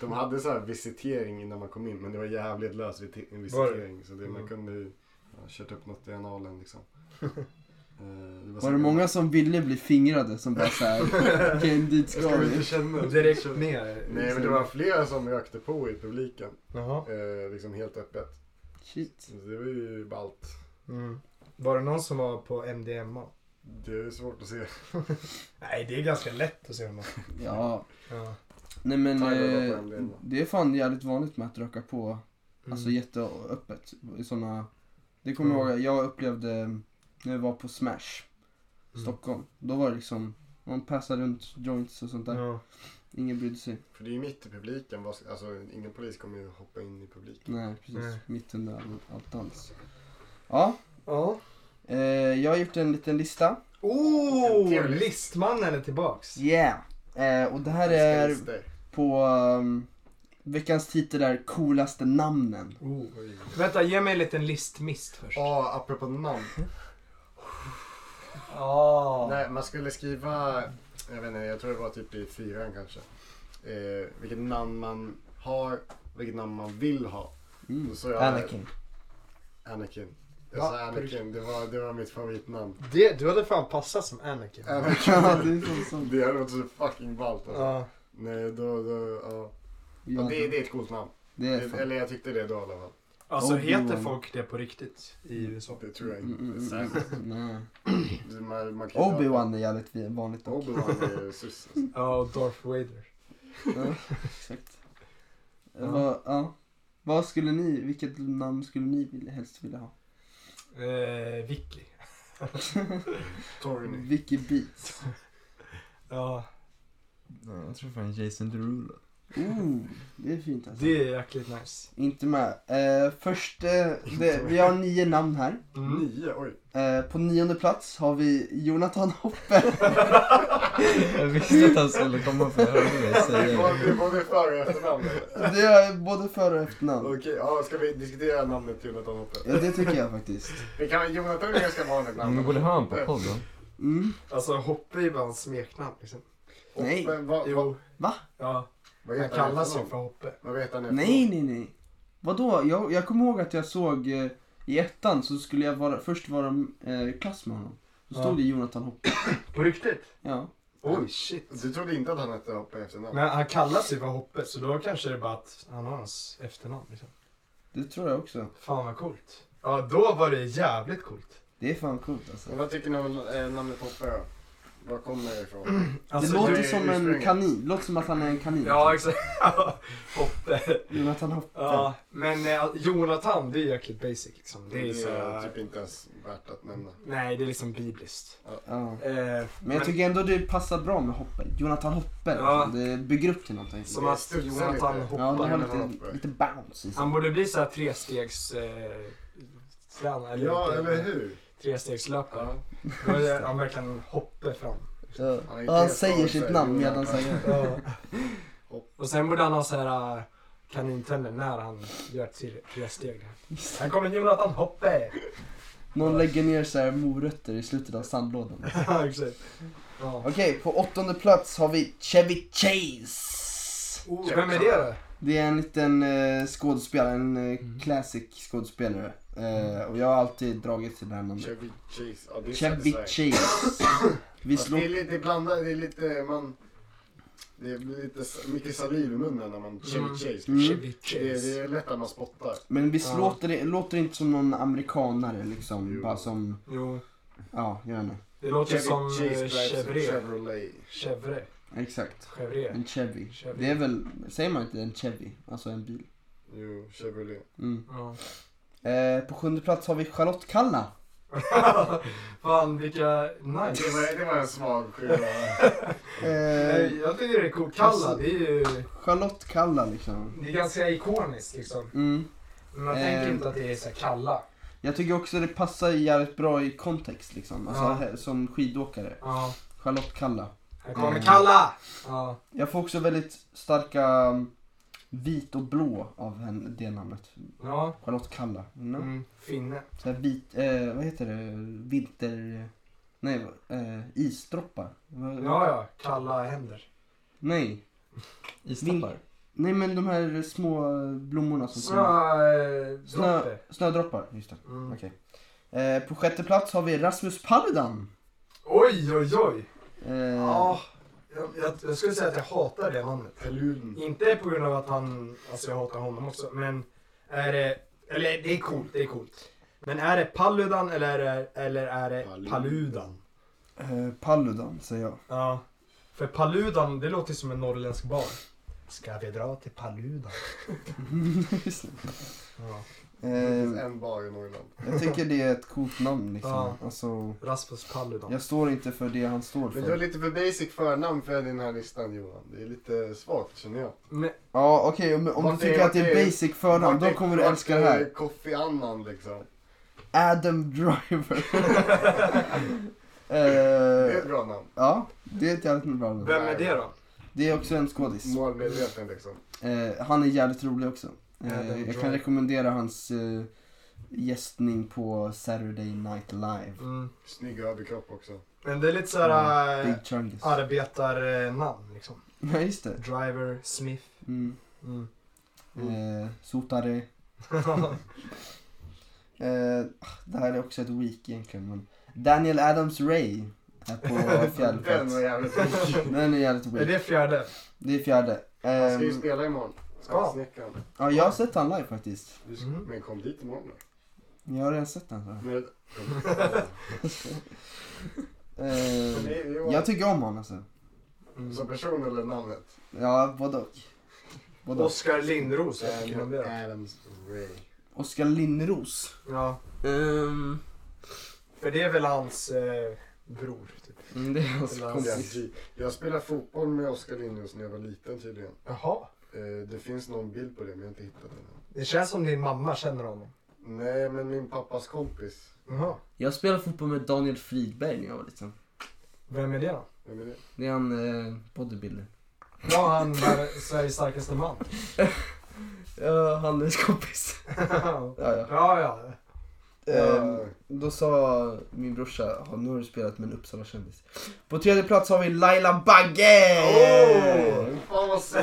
S3: De hade så här visitering innan man kom in men det var jävligt lös vit-
S1: Var det?
S3: visitering. Så det, man
S1: Mm.
S3: kunde ju ja, kört upp något i analen liksom. Eh, det
S2: Var det många som ville bli fingrade som bara såhär, okej dit
S3: ska
S2: ska
S3: vi inte
S2: vi.
S3: känna?
S1: Direkt ner?
S3: Nej men det var flera som rökte på i publiken.
S1: Jaha.
S3: Eh, liksom helt öppet.
S2: Shit.
S3: Så det var ju ballt.
S1: Mm. Var det någon som var på MDMA?
S3: Det är svårt att se.
S1: Nej, det är ganska lätt att se honom.
S2: Ja.
S1: Ja.
S2: Nej men
S3: Tyler var
S2: eh,
S3: på MDMA.
S2: det är fan jävligt vanligt med att röka på
S1: Mm.
S2: Alltså jätteöppet. I såna... Det kommer jag
S1: Mm.
S2: ihåg, jag upplevde när jag var på Smash
S1: Mm.
S2: Stockholm. Då var det liksom, man passade runt joints och sånt där.
S1: Ja.
S2: Ingen brydde sig.
S3: För det är ju mitt i publiken. vad ska- Alltså ingen polis kommer ju hoppa in i publiken.
S2: Nej, precis.
S1: Nej.
S2: Mitt under all, allt dans. Ja,
S1: ja.
S2: eh, jag har gjort en liten lista.
S1: Oh,
S3: Trevligt.
S1: listmannen är tillbaks.
S2: Yeah! Eh, och det här är på um, veckans titel är coolaste namnen.
S1: Oh.
S3: Oj.
S1: Vänta, ge mig en liten listmist först.
S3: Ja, apropå namn.
S1: Oh.
S3: Nej, man skulle skriva, jag vet inte, jag tror det var typ i fyran kanske. Eh, vilket namn man har, vilket namn man vill ha.
S2: Mm.
S3: Då sa jag
S4: Anakin.
S3: Anakin. Jag
S1: Va?
S3: sa Anakin, det var, det var mitt favoritnamn.
S1: Det, du hade fan passat som Anakin.
S2: Ja,
S3: Anakin.
S2: det är så, så.
S3: Det hade varit så fucking ballt alltså.
S1: Ja.
S3: Nej, då, då, ja.
S2: Ja,
S3: ja det, det är ett coolt namn.
S2: det är fan.
S3: Eller jag tyckte det då i alla fall.
S1: Alltså
S2: Oh,
S1: heter
S2: Johan.
S1: folk det på riktigt i USA?
S3: Det tror jag
S2: Mm,
S3: inte.
S2: mm, mm,
S3: Säkert.
S2: mm. Nej.
S3: Det- Man, man kan ju ta-
S2: Obi-Wan är jävligt vanligt dock.
S3: Obi-Wan är ju sus. alltså.
S1: Ja, och Darth Vader.
S2: Ja, exakt. Eh,
S1: Ja.
S2: Vad, ja. Vad skulle ni, vilket namn skulle ni vilja, helst vilja ha?
S1: Eh, Vicky.
S3: Torgny.
S2: Vicky Beats.
S1: Ja,
S4: Ja, jag tror fan Jason Derulo.
S2: Ooh, det är fint alltså.
S1: det är jäkligt nice.
S2: Inte med. Eh, först, eh, det, vi har nio namn här.
S1: Mm.
S3: Nio, oj.
S2: Eh, på nionde plats har vi Jonathan Hoppe.
S4: Jag visste att han skulle komma för jag hörde dig säga
S3: Var
S4: det.
S3: det både för och efternamn? eller?
S2: Det är både för och efternamn.
S3: Okej, ja, ska vi diskutera namnet Jonathan Hoppe?
S2: Ja, det tycker jag faktiskt.
S3: Det kan, Jonathan är ganska vanligt
S4: Men vi
S3: namn.
S4: borde Mm, ha honom på podden.
S2: Mm.
S1: Alltså Hoppe är bara hans smeknamn liksom.
S2: Nej.
S3: Hoppe, vad, vad,
S2: Va?
S1: Ja,
S3: vad
S1: han
S3: heter han
S1: kallas ju
S3: efternamn?
S1: för Hoppe.
S3: Vad heter han efternamn?
S2: Nej, nej, nej. Vadå? Jag, jag kommer ihåg att jag såg eh, i ettan så skulle jag vara, först vara eh, klass med honom. Då stod
S1: Ja.
S2: det Jonathan Hoppe.
S1: På riktigt?
S2: Ja.
S1: Oj, shit.
S3: Du trodde inte att han hette Hoppe i efternamn?
S1: Men han kallas ju för Hoppe, så då kanske det är bara att han har hans efternamn liksom.
S2: Det tror jag också.
S1: Fan vad coolt. Ja, då var det jävligt coolt.
S2: Det är fan coolt alltså.
S3: Men vad tycker ni om eh, namnet Hoppe då? Var kommer det
S2: Mm,
S3: ifrån?
S1: Alltså,
S2: det låter
S1: du-
S2: som en
S3: ursprunget.
S2: kanin. Det låter som att han är en kanin.
S1: Ja, exakt. Hoppe.
S2: Jonathan Hoppe.
S1: Ja, men eh, Jonathan, det är jäkligt basic liksom. Det är så...
S3: typ inte ens värt att nämna.
S1: Nej, det är liksom bibliskt.
S2: Ja.
S1: Eh,
S2: Men jag tycker ändå det passar bra med Hoppe. Jonathan Hoppe.
S1: Ja.
S2: liksom. Det bygger upp till någonting.
S1: Som
S3: Det
S1: att
S3: studsar
S1: Jonathan
S3: lite.
S2: Ja, det
S1: hoppar.
S2: har
S3: Jonathan
S2: lite,
S3: Hoppe.
S2: lite bounce i sig.
S1: Han borde bli så här trestegs... Eh, hästland. Eller
S3: Ja,
S1: inte-
S3: eller hur?
S1: Trestegslöpare. Då
S3: Ja.
S1: är Han verkligen hoppar fram.
S2: Ja.
S3: Han är
S2: Och han
S3: helt
S2: säger
S3: klar,
S2: sitt
S3: så här,
S2: namn
S3: jo,
S2: medan
S3: ja.
S2: han gör det.
S1: Ja. Och sen borde han ha så här äh, kanintänder när han gör tre, tre steg. Här kommer Jonathan Hoppe!
S2: Någon lägger ner så här morötter i slutet av sandlådan.
S1: Ja, exakt. Ja.
S2: Okej, på åttonde plats har vi Chevy Chase.
S1: Oh, vem är det då?
S2: Det är en liten eh, skådespelare, en eh,
S1: Mm.
S2: classic skådespelare. Eh,
S3: Mm.
S2: och jag har alltid dragit till det här namnet.
S3: Chevy Chase. Ja, det är
S2: Chevy
S3: satisfying.
S2: Chase. Vi
S3: Fast det
S2: slog...
S3: är lite blandat, det är lite man... Det blir lite s- mycket saliv i munnen när man Chevy
S1: Mm.
S3: Chase.
S2: Mm.
S1: Chevy
S3: Det, är, det
S1: Chase.
S3: är lätt att man spottar.
S2: Men vi
S1: Ja.
S2: låter, låter inte som någon amerikanare liksom.
S3: Jo.
S2: Bara som,
S1: Jo,
S2: ja, jag vet inte.
S1: det låter
S3: Chevy
S1: som eh,
S3: Chase drives a
S1: Chevrolet.
S3: Chevrolet.
S1: Chevre.
S2: Exakt.
S1: Chevre.
S2: En Chevy.
S1: Chevy.
S2: Det är väl, säger man inte en Chevy? Alltså en bil.
S3: Jo, Chevrolet.
S2: Mm.
S1: Ja.
S2: Eh, på sjunde plats har vi Charlotte Kalla.
S1: Fan vilka
S3: Det
S1: nice.
S3: var, det var en svag skiva.
S2: Eh,
S1: Nej, Jag tycker det är coolt. Kalla, det är ju
S2: Charlotte Kalla liksom.
S1: det är ganska ikoniskt liksom.
S2: Mm.
S1: Men man
S2: Eh.
S1: tänker inte att det är så här Kalla.
S2: Jag tycker också det passar jävligt bra i kontext liksom. Alltså
S1: Ja.
S2: här, som skidåkare.
S1: Ja,
S2: Charlotte Kalla.
S1: här kommer
S2: Mm.
S1: Kalla! Ja.
S2: Jag får också väldigt starka um, vit och blå av henne, det namnet.
S1: Ja.
S2: Charlotte Kalla. No?
S1: Mm. Finne.
S2: Så här vit, eh, vad heter det? Vinter... Nej, eh, isdroppar. Vad-
S1: Ja, ja. Kalla händer.
S2: Nej.
S4: Istappar.
S2: Nej men de här små blommorna som Snö,
S1: Snödroppe.
S2: snödroppar, just det.
S1: eh, Mm.
S2: Okej. Eh, på sjätte plats har vi Rasmus Paludan.
S1: Oj, oj, oj.
S2: Eh,
S1: Ja. Jag, jag, jag skulle säga att jag hatar det namnet.
S3: Pelun.
S1: Mm. Inte på grund av att han, alltså jag hatar honom också, men är det, eller det är coolt, det är coolt. Men är det Paludan eller är det, eller är det
S3: Paludan.
S1: Paludan?
S2: eh, Paludan säger jag.
S1: Ja. För Paludan, det låter som en norrländsk bar. Ska vi dra till Paludan?
S2: Just det.
S1: Ja.
S3: Det
S2: eh,
S3: finns en bar i Norrland.
S2: jag tycker det är ett coolt namn liksom.
S1: Ja.
S2: Alltså,
S1: Rasmus Paludan.
S2: jag står inte för det han står
S3: Men du har
S2: för.
S3: lite för basic förnamn för den här listan Johan. Det är lite svagt känner jag.
S1: Men,
S2: Ja okej, om, om du
S3: Vart är-
S2: tycker att det
S3: vart
S2: är
S3: är-
S2: basic förnamn då kommer du älska det här. Eh.
S3: Koffe Annan liksom.
S2: Adam Driver. eh,
S3: Det är ett bra namn.
S2: ja, det är ett jävligt bra namn.
S1: vem är det då?
S2: Det är också en skådis.
S3: Målmedveten liksom.
S2: Eh, han är jävligt rolig också.
S1: Adam
S2: Eh, jag kan
S1: Driver.
S2: rekommendera hans eh, gästning på Saturday Night Live.
S1: Mm.
S3: Snygg överkropp också.
S1: Men det är lite såhär äh,
S2: Big Chungus.
S1: arbetarnamn liksom.
S2: Ja, just det.
S1: Driver, Smith.
S2: Mm.
S1: Mm.
S2: Eh, sotare. Eh, det här är också ett week egentligen. Men Daniel Adams Ray är på fjärde
S3: Den
S2: plats.
S3: var jävligt rolig.
S2: Den är jävligt
S1: är
S2: weak.
S1: det fjärde?
S2: Det är fjärde.
S3: Han ska ju
S2: Ehm,
S3: spela imorgon.
S1: Ska.
S3: Snickaren.
S2: ja, Mhm. jag har sett han live faktiskt.
S3: Du ska-
S1: Mm.
S3: Men kom dit imorgon då.
S2: Jag har redan sett han. tror jag.
S3: Men, men
S2: Ehm,
S3: det är ju Johan
S2: jag tycker om honom alltså.
S3: som
S1: Mm.
S3: person eller namnet?
S2: Ja, både och. Både och.
S1: Oskar Lindros, jag tycker om det. då.
S3: Ehm, Adams Ray.
S2: Oskar Linnros.
S1: Ja.
S4: Ehm,
S1: För det är väl hans eh, bror. Typ.
S4: mm, det är hans
S1: Eller
S3: Jag-
S4: kompis.
S3: Jag spelade fotboll med Oskar Lindros när jag var liten tydligen.
S1: Jaha.
S3: Eh, Det finns någon bild på det men jag har inte hittat den än.
S1: Det känns som din mamma känner honom.
S3: Nej men min pappas kompis.
S1: Jaha.
S4: Jag spelade fotboll med Daniel Fridberg när jag var liten.
S1: Vem är det då?
S3: Vem är det?
S4: Det är han eh, bodybuilder.
S1: Ja, han är Sveriges starkaste man.
S4: Ja, han är hans kompis.
S1: ja,
S4: Ja, ja.
S1: ja.
S2: Ehm, då sa min brorsa, "Ja, nu har du spelat med en Uppsala-kändis. På tredje plats har vi Laila Bagge!
S1: Åh!
S2: Ehm.
S3: Fan vad så...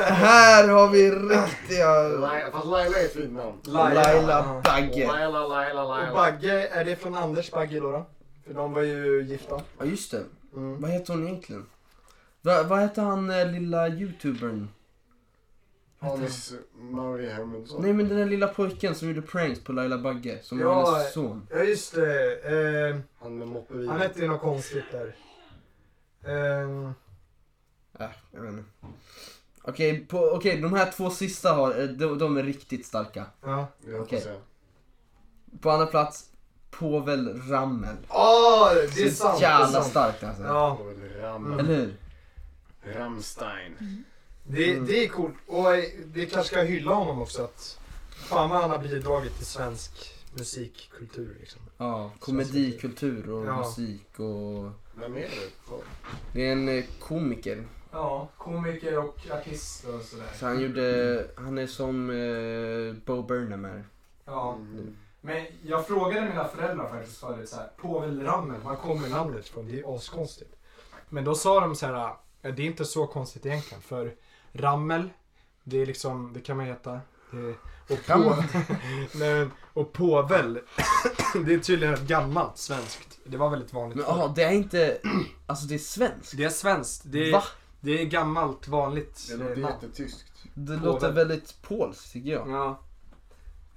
S2: Här har vi riktiga
S3: Laila- Fast Laila är ett fint namn.
S1: Laila.
S2: Laila Bagge.
S3: Laila, Laila,
S1: Och
S3: Laila.
S1: Bagge, är det från Anders Bagge då? då? För de var ju gifta.
S2: Ja just det,
S1: Mm.
S2: vad heter hon egentligen? Va, vad heter han eh, lilla youtubern?
S3: Anis Marie Hermundsson.
S2: Nej men den där lilla pojken som gjorde pranks på Laila Bagge, som var
S1: Ja,
S2: hennes son.
S1: Ja, just det. Eh,
S3: Han med
S1: han
S3: moppevideon.
S1: hette ju något konstigt där. Eh,
S2: Äh, jag vet inte. Okej, på- okej, de här två sista har, eh, de, de är riktigt starka.
S1: ja.
S3: Det hoppas
S2: Okej.
S3: jag.
S2: På andra plats, Povel Ramel.
S1: Åh, det är
S2: Så
S1: sant. Det är
S2: jävla
S1: sant.
S2: starkt alltså.
S1: Ja,
S3: Och Ram...
S1: Mm.
S2: Eller hur?
S3: Ramstein.
S1: det, det är coolt. Och eh, det kanske ska hylla honom också. Att, fan vad han har bidragit till svensk musikkultur liksom.
S2: Ja, komedikultur och
S1: Ja.
S2: musik och...
S3: Vem är du? Vad-
S2: Det är en eh, komiker.
S6: Ja, komiker och artist och sådär.
S2: Så han gjorde... Han är som eh, Bo Burnham är.
S6: Ja.
S3: Mm.
S6: Men jag frågade mina föräldrar faktiskt förut såhär, Povel Ramel, var kommer namnet?
S1: namnet från. Det är askonstigt. Men då sa de så här, "Ja, det är inte så konstigt egentligen för rammel, det är liksom, det kan man heta. Det är, och, på, nej, men- och påvel, det är tydligen ett gammalt svenskt. Det var väldigt vanligt
S2: Men
S1: förr.
S2: ja, det är inte... Alltså det är svenskt.
S1: Det är svenskt. Det är,
S2: Va?
S1: det är gammalt vanligt.
S3: Det
S1: eh,
S3: låter
S1: namn.
S3: jättetyskt.
S2: Det låter väldigt polskt tycker jag.
S1: Ja,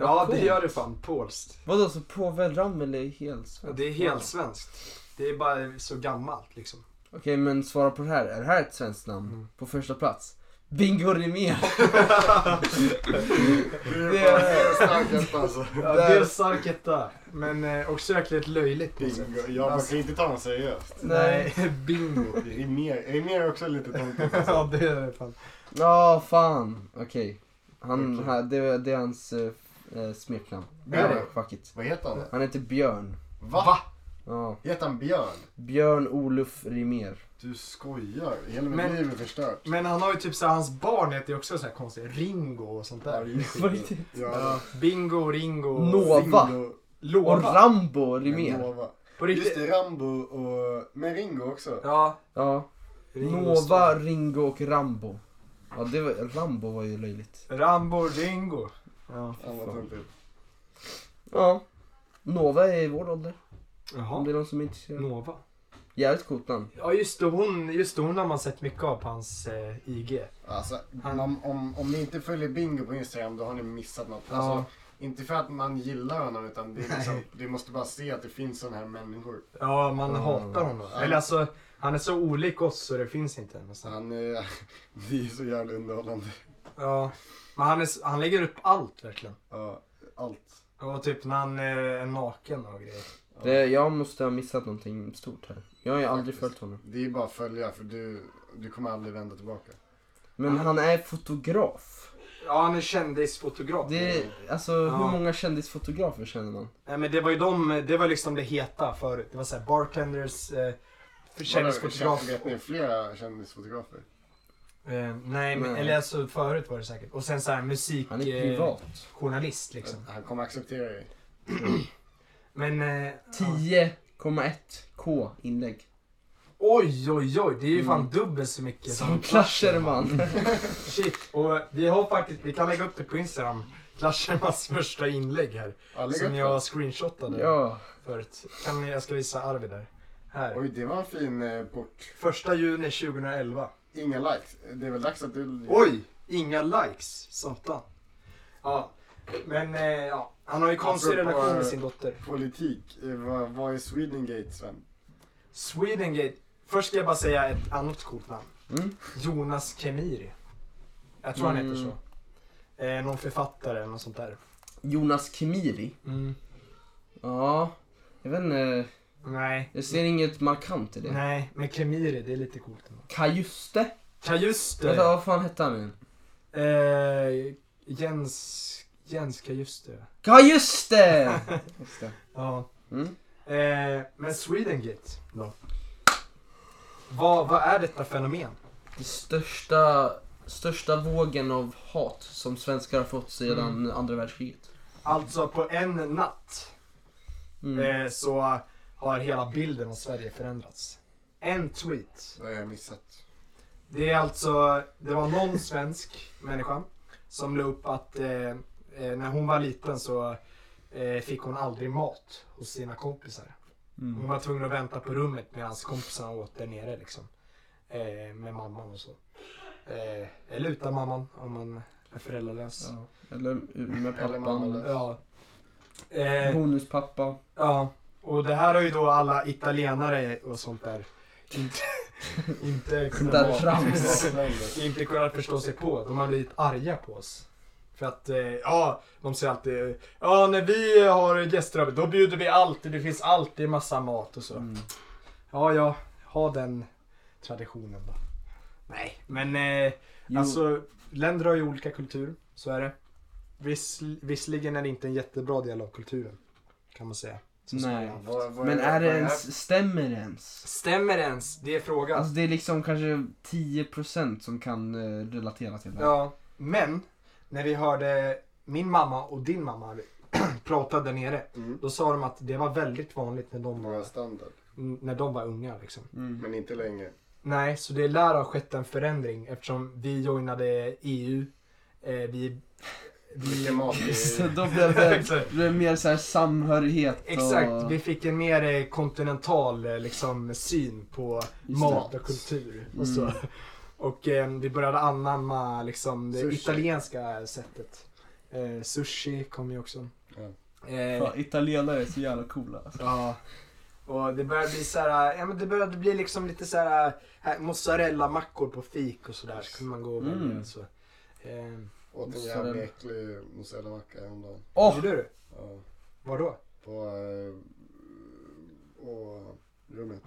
S2: Vad
S1: ja det
S2: coolt.
S1: gör det fan. Polskt.
S2: Vadå, så påvel Ramel är helt
S1: Ja,
S2: svenskt?
S1: Det är helt svenskt. Det är bara så gammalt liksom.
S2: Okej, men svara på det här. Är det här ett svenskt namn?
S1: Mm.
S2: På första plats? Bingo Rimér!
S3: Det är starkt alltså.
S1: Ja, det är stark etta. Men eh, också jäkligt löjligt. på något sätt. Alltså,
S3: Bingo. Ja, man kan ju inte ta honom seriöst.
S2: Nej.
S1: bingo.
S3: Rimér Rimér är också lite tomtigt
S1: Ja,
S3: alltså.
S1: det är det fan.
S2: Ja, fan. Okej. Han,
S3: Okej.
S2: här- det, det är hans eh, eh, smeknamn.
S3: Björn.
S2: Nej, fuck it.
S3: Vad heter han?
S2: Han heter Björn.
S3: Va?
S2: Ja.
S3: Heter han Björn?
S2: Björn Oluf Rimér.
S3: Du skojar. Hela mitt
S1: Men-
S3: liv är förstört.
S1: Men han har ju typ såhär, hans barn heter ju också såhär konstigt. Ringo och sånt
S3: Ja,
S1: där.
S3: det är skit.
S2: På riktigt?
S3: Ja.
S1: Ja, bingo, Ringo,
S2: Nå- Nova.
S3: Ringo-
S2: Och
S1: Lova.
S2: Rambo Rimér.
S3: Nova.
S1: På
S3: Just
S1: riktigt.
S3: det, Rambo och... Men Ringo också.
S1: Ja,
S2: Ja.
S1: Ringo
S2: Nova,
S1: Starr.
S2: Ringo och Rambo. Ja, det var, Rambo var ju löjligt.
S1: Rambo, Ringo. Ja.
S3: Fan vad
S2: Fan.
S3: töntigt.
S2: Ja. Nova är i vår ålder. Om
S1: Jaha.
S2: det är någon som är intresserad.
S1: Nova.
S2: Jävligt coolt namn.
S1: Ja just det, hon, just det, hon har man sett mycket av på hans eh, IG.
S3: Alltså,
S1: Han-
S3: om, om, om ni inte följer Bingo på Instagram då har ni missat något.
S1: Ja.
S3: Alltså, inte för att man gillar honom utan det är liksom, du måste bara se att det finns sådana här människor.
S1: Ja, man
S2: Mm.
S1: hatar honom.
S3: Ja.
S1: Eller alltså, han är så olik oss så det finns inte
S3: Så
S1: nästan.
S3: han är, det är så jävla underhållande.
S1: Ja. Men han, är, s- han lägger upp allt verkligen.
S3: Ja, allt.
S1: Och typ när han eh, är naken och grejer.
S3: Ja.
S2: Det, jag måste ha missat någonting stort här. Jag har ju aldrig
S3: Faktiskt.
S2: följt honom.
S3: Det är bara att följa för du, du kommer aldrig vända tillbaka.
S2: Men han är fotograf.
S1: Ja, han är kändisfotograf.
S2: Det, alltså
S1: Ja.
S2: hur många kändisfotografer känner man?
S1: Nej men det var ju de, det var liksom det heta förut. Det var såhär bartenders, eh,
S3: Vadå,
S1: kändisfotograf.
S3: Vet ni flera kändisfotografer?
S1: Eh, nej men,
S2: Nej.
S1: eller alltså förut var det säkert. Och sen såhär
S2: Han är
S1: musikjournalist
S2: privat.
S1: eh, journalist liksom.
S3: Han kommer acceptera dig.
S1: Men... Eh, ja.
S2: 10,1k inlägg.
S1: Oj oj oj, det är ju fan
S2: Mm.
S1: dubbelt så mycket
S2: Som Clasherman.
S1: Shit, och vi har faktiskt, vi kan lägga upp det på Instagram. Clashermans första inlägg här.
S3: Ja, lägg upp
S1: Som
S3: det.
S1: jag screenshotade
S2: ja.
S1: förut. Kan, ni- jag ska visa Arvid där. Här.
S3: Oj, det var en fin eh, port.
S1: Första juni 2011.
S3: Inga likes. Det är väl dags att du...
S1: Oj! Inga likes. Satan. Ja. Men eh, ja. han har ju konstig
S3: Apropå-
S1: relation med sin dotter.
S3: Politik. Eh, Vad, vad är Swedengate, Sven?
S1: Swedengate. Först ska jag bara säga ett annat coolt namn.
S2: Mm.
S1: Jonas Kemiri. Jag tror han heter
S2: Mm.
S1: så. Eh, någon författare eller något sånt där. Mm.
S2: Jonas Kemiri. Ja. Jag vet inte.
S1: Nej.
S2: Jag ser inget markant i det.
S1: Nej, men Kemiri det är lite coolt ändå.
S2: Kajuste.
S1: Ja just
S2: Vänta,
S1: det.
S2: vad fan hette han igen?
S1: Eh, Jens... Jens Kajuste.
S2: Kajuste! Just det.
S1: Ja.
S2: Mm.
S1: Eh, men Swedengate då? Vad, vad är detta fenomen?
S2: Det största, största vågen av hat som svenskar har fått sedan
S1: Mm.
S2: andra världskriget.
S1: Alltså på en natt
S2: Mm.
S1: eh, så har hela bilden av Sverige förändrats. En tweet.
S3: Det har jag missat.
S1: Det är alltså, det var någon svensk människa som la upp att eh, eh, när hon var liten så eh, fick hon aldrig mat hos sina kompisar.
S2: Mm.
S1: Hon var tvungen att vänta på rummet medan kompisarna åt där nere liksom. Eh, med mamman och så. Eh, eller utan mamman om man är föräldralös.
S2: Ja. Eller med
S3: Eller mamma
S2: pappan.
S3: eller-
S1: Ja. Eh,
S2: Bonuspappa.
S1: ja. Och det här har ju då alla italienare och sånt där inte, inte,
S2: Där
S1: kunnat,
S2: trams.
S1: inte kunnat förstå sig på. De har blivit arga på oss. För att, eh, ja, de säger alltid, eh, ja när vi har gäster över då bjuder vi alltid, det finns alltid massa mat och så.
S2: Mm.
S1: Ja, ja, ha den traditionen då. Nej, men eh,
S2: Jo.
S1: alltså länder har ju olika kultur, så är det. Viss, visserligen är det inte en jättebra del av kulturen. kan man säga. Så
S2: Nej.
S3: Vad- vad
S2: Men är det
S3: vad
S2: ens, stämmer det ens?
S6: Stämmer det ens? Det är frågan.
S2: Alltså det är liksom kanske 10% som kan eh, relatera till det.
S6: ja.
S1: Men när vi hörde min mamma och din mamma prata där nere.
S3: Mm.
S1: Då sa de att det var väldigt vanligt när de
S3: Några
S1: var,
S3: standard.
S1: när de var unga. Liksom.
S2: Mm.
S3: Men inte länge.
S1: Nej, så det lär ha skett en förändring eftersom vi joinade EU. Eh, vi, vi,
S3: Mycket mat. i-
S2: Så då blev det,
S1: Exakt.
S2: det blev mer så här samhörighet och...
S1: Exakt, vi fick en mer eh, kontinental eh, liksom, syn på
S2: Just Mm.
S1: mat
S3: det.
S1: och kultur. Och, så. och eh, vi började anamma liksom, det
S3: Sushi.
S1: italienska sättet. Eh, sushi kom ju också.
S3: Ja.
S1: Eh,
S4: Fan, italienare är så jävla coola. alltså.
S1: ja. Och det började bli så här, eh, ja, men det började bli liksom lite så här, här mozzarella-mackor på fik och sådär. Så kunde man gå och välja.
S2: Mm.
S1: Så. Eh,
S3: Åt en
S2: Mozzarella.
S3: jävligt äcklig mozzarellamacka häromdagen.
S2: Åh!
S1: Gjorde du?
S3: Ja.
S1: Vadå?
S3: På... eh, Och rummet.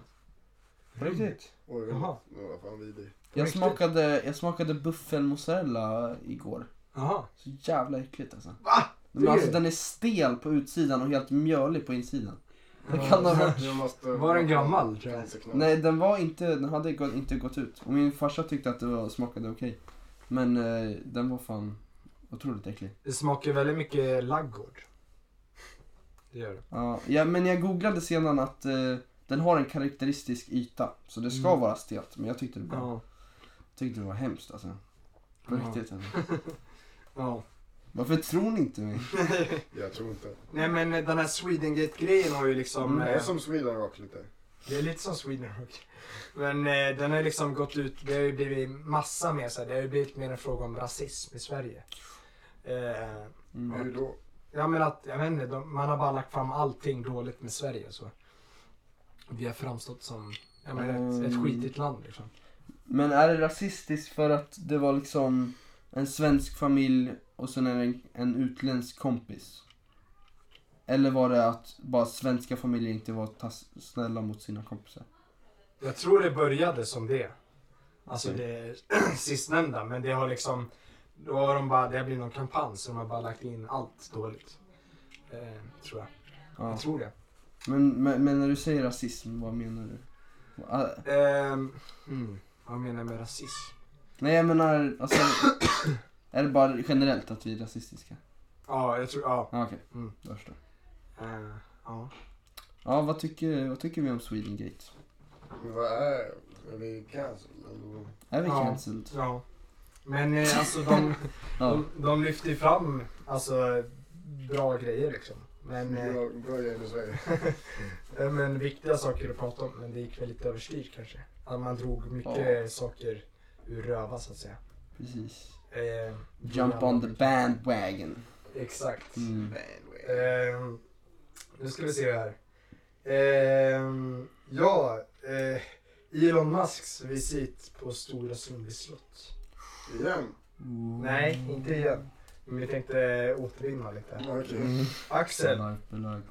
S2: på riktigt.
S3: Och rummet.
S1: Jaha.
S3: Det var fan vidrig.
S2: Jag
S1: riktigt?
S2: smakade, jag smakade buffelmozzarella igår.
S1: Jaha.
S2: Så jävla äckligt alltså.
S1: Va?
S2: Men alltså
S1: Det-
S2: den är stel på utsidan och helt mjölig på insidan. Den kan ha varit...
S3: Jag måste-
S1: Var den gammal, tror jag?
S3: Cancerknall.
S2: Nej den var inte, den hade gå- inte gått ut. Och min farsa tyckte att det var, smakade okej. Men eh, den var fan otroligt äcklig.
S1: Det smakar väldigt mycket laggård. Det gör det.
S2: Ja, ja, men jag googlade sedan att eh, den har en karaktäristisk yta. Så det ska
S1: Mm.
S2: vara stelt. Men jag tyckte det var, tyckte det var hemskt alltså. På
S1: Ja.
S2: riktigt alltså.
S1: ja.
S2: Varför tror ni inte mig?
S3: Jag tror inte.
S1: Nej men eh, den här Swedengate-grejen har ju liksom...
S3: Det
S1: eh,
S3: är som Sweden Rock lite.
S1: Det är lite som Sweden Rock. Men eh, den har liksom gått ut, det har ju blivit massa mer så här, det har ju blivit mer en fråga om rasism i Sverige. Eh,
S3: Hur då?
S1: ja men att, jag vet inte, de, man har bara lagt fram allting dåligt med Sverige och så. Vi har framstått som, ja men ett, ett
S2: Mm.
S1: skitigt land liksom.
S2: Men är det rasistiskt för att det var liksom en svensk familj och sen är det en, en utländsk kompis? Eller var det att bara svenska familjer inte var tas- snälla mot sina kompisar?
S1: Jag tror det började som det. Alltså det sistnämnda, men det har liksom... Då har de bara, det har blivit någon kampanj så de har bara lagt in allt dåligt. Eh, tror jag.
S2: Ja.
S1: Jag tror det.
S2: Men, men, men när du säger rasism, vad menar du? Ah,
S1: Ehm, mm, vad menar jag med rasism?
S2: nej jag menar, alltså, är det bara generellt att vi är rasistiska?
S1: Ja, jag tror, ja.
S2: Ah, Okej,
S1: Mm.
S2: jag förstår.
S1: Eh, ja.
S2: Ja, vad tycker, vad tycker vi om Swedengate?
S3: Vad är... Är vi cancel? eller?
S2: Är vi
S1: Ja.
S2: cancelled?
S1: ja. Men eh, alltså de,
S2: Ja.
S1: de, de lyfter ju fram alltså, bra grejer liksom. Men, eh,
S3: Bra- Bra grejer i Sverige.
S1: eh, men viktiga saker att prata om, men det gick väl lite överstyr kanske. Att man drog mycket saker ur röva så att säga.
S2: Precis.
S1: Eh,
S2: Jump on the bandwagon.
S1: Exakt.
S2: Mm.
S1: Eh, nu ska vi se här. Eh, ja, eh, Elon Musks visit på Stora Sundby slott.
S3: Igen?
S1: Nej, inte igen. Men vi tänkte återvinna lite.
S3: Okej.
S2: Mm,
S1: Axel,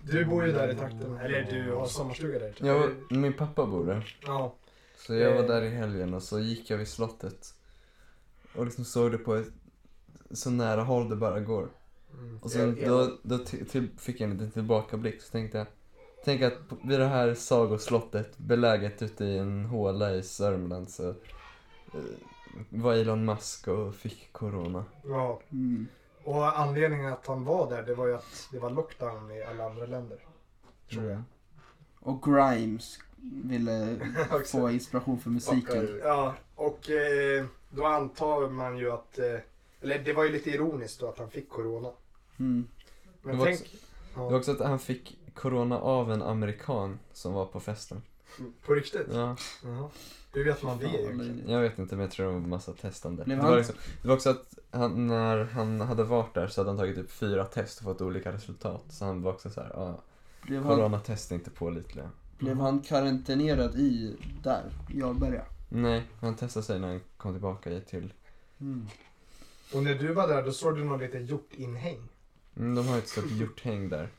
S1: du bor ju där i trakten. Eller du har sommarstuga där. tror
S4: Jag, min pappa bor där.
S1: Ja.
S4: Så jag var
S1: Eh.
S4: där i helgen och så gick jag vid slottet. Och liksom såg det på ett, så nära håll det bara går.
S1: Mm.
S4: Och så då, då till, till, fick jag en liten tillbakablick så tänkte jag. Tänk att på- vid det här sagoslottet beläget ute i en håla i Sörmland så eh, var Elon Musk och fick corona.
S1: ja.
S2: Mm.
S1: Och anledningen att han var där, det var ju att det var lockdown i alla andra länder. Tror jag.
S2: Och Grimes ville få inspiration för musiken.
S3: Fuckar.
S1: Ja, och eh, då antar man ju att... Eh, eller det var ju lite ironiskt då att han fick corona.
S2: Mm.
S1: Men
S4: Det var
S1: tänk...
S4: Det
S1: Ja,
S4: var också att han fick corona av en amerikan som var på festen.
S1: På riktigt?
S4: Ja,
S1: Jaha. Hur vet man det egentligen?
S4: jag vet inte men jag tror det var massa testande.
S2: Blev
S4: Det
S2: han-
S4: var, liksom, det var också att han, när han hade varit där så hade han tagit typ fyra test och fått olika resultat. Så han var också så här, ja,
S2: Blev han,
S4: coronatest är inte pålitliga.
S2: blev han karantänerad i, där, i Jarlberga?
S4: Nej, han testade sig när han kom tillbaka i till
S2: Mm.
S1: Och när du var där då såg du någon liten hjortinhägn.
S4: Mm, de har ett stort hjorthäng där.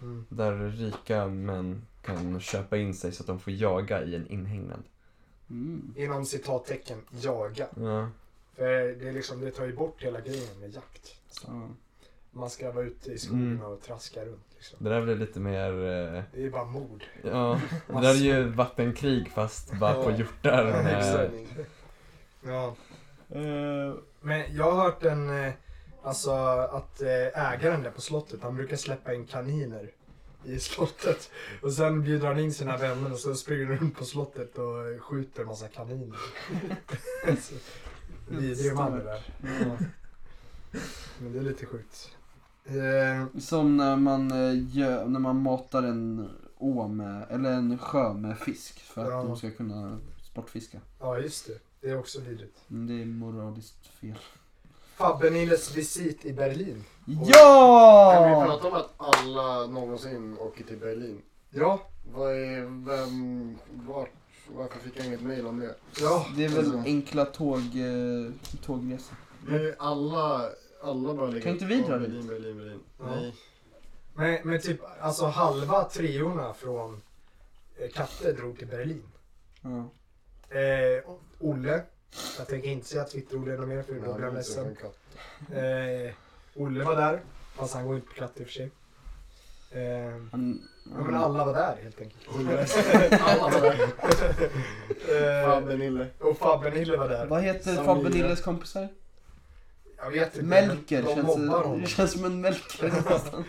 S1: Mm.
S4: Där rika män kan köpa in sig så att de får jaga i en inhägnad.
S2: Mm.
S1: Inom citattecken jaga.
S4: Ja.
S1: För det, är liksom, det tar ju bort hela grejen med jakt.
S2: Ja.
S1: Man ska vara ute i skogen
S4: Mm.
S1: och traska runt liksom.
S4: Det där blev lite mer... eh,
S1: Det är bara mord.
S4: Ja, det där är ju vattenkrig fast bara på
S1: Ja.
S4: hjortar. Eh, Med...
S1: Ja. Eh, Men jag har hört en, eh, alltså att eh, ägaren där på slottet, han brukar släppa in kaniner i slottet. Och sen bjuder han in sina vänner och så springer de runt på slottet och eh, skjuter en massa kaniner. Så, Vidrig man det där. Ja. Men det är lite sjukt. Eh,
S2: Som när man, eh, gör, när man matar en å med, eller en sjö med fisk för att
S1: Ja.
S2: de ska kunna sportfiska.
S1: ja just det, det är också vidrigt.
S2: Men det är moraliskt fel.
S1: Fabbe-Nilles visit i Berlin.
S3: Kan vi
S2: Ja!
S3: prata om att alla någonsin åker till Berlin?
S1: Ja,
S3: Vad är, vem, vart, varför fick jag inget mejl om det?
S1: ja.
S2: Det är väl
S3: Mm.
S2: enkla tåg, eh, tågresor.
S3: Det är alla, alla bara ligger...
S2: Kan inte vi
S3: Ja,
S2: dra dit?
S3: Berlin, Berlin, Berlin.
S1: Ja.
S3: Nej.
S1: Men, men typ alltså halva triorna från eh, Katte drog till Berlin.
S2: Ja.
S1: Eh, Olle. Jag tänker inte säga Twitter-Olle något mer för då
S3: Ja,
S1: blir
S3: det är
S1: jag ledsen.
S3: en katt.
S1: Eh, Olle var där. Fast han går inte på Katte i och för sig. Eh,
S2: Han,
S1: ja, men alla var där helt enkelt.
S3: Alla var där.
S1: eh,
S3: Fabbe, Nille.
S1: och Fabbe-Nille var där.
S2: vad heter
S3: Samira.
S2: Fabbe Nilles kompisar?
S1: Jag vet inte. men
S2: Melker.
S1: De
S2: Känns,
S1: mobbar honom.
S2: det känns som en Melker någonstans.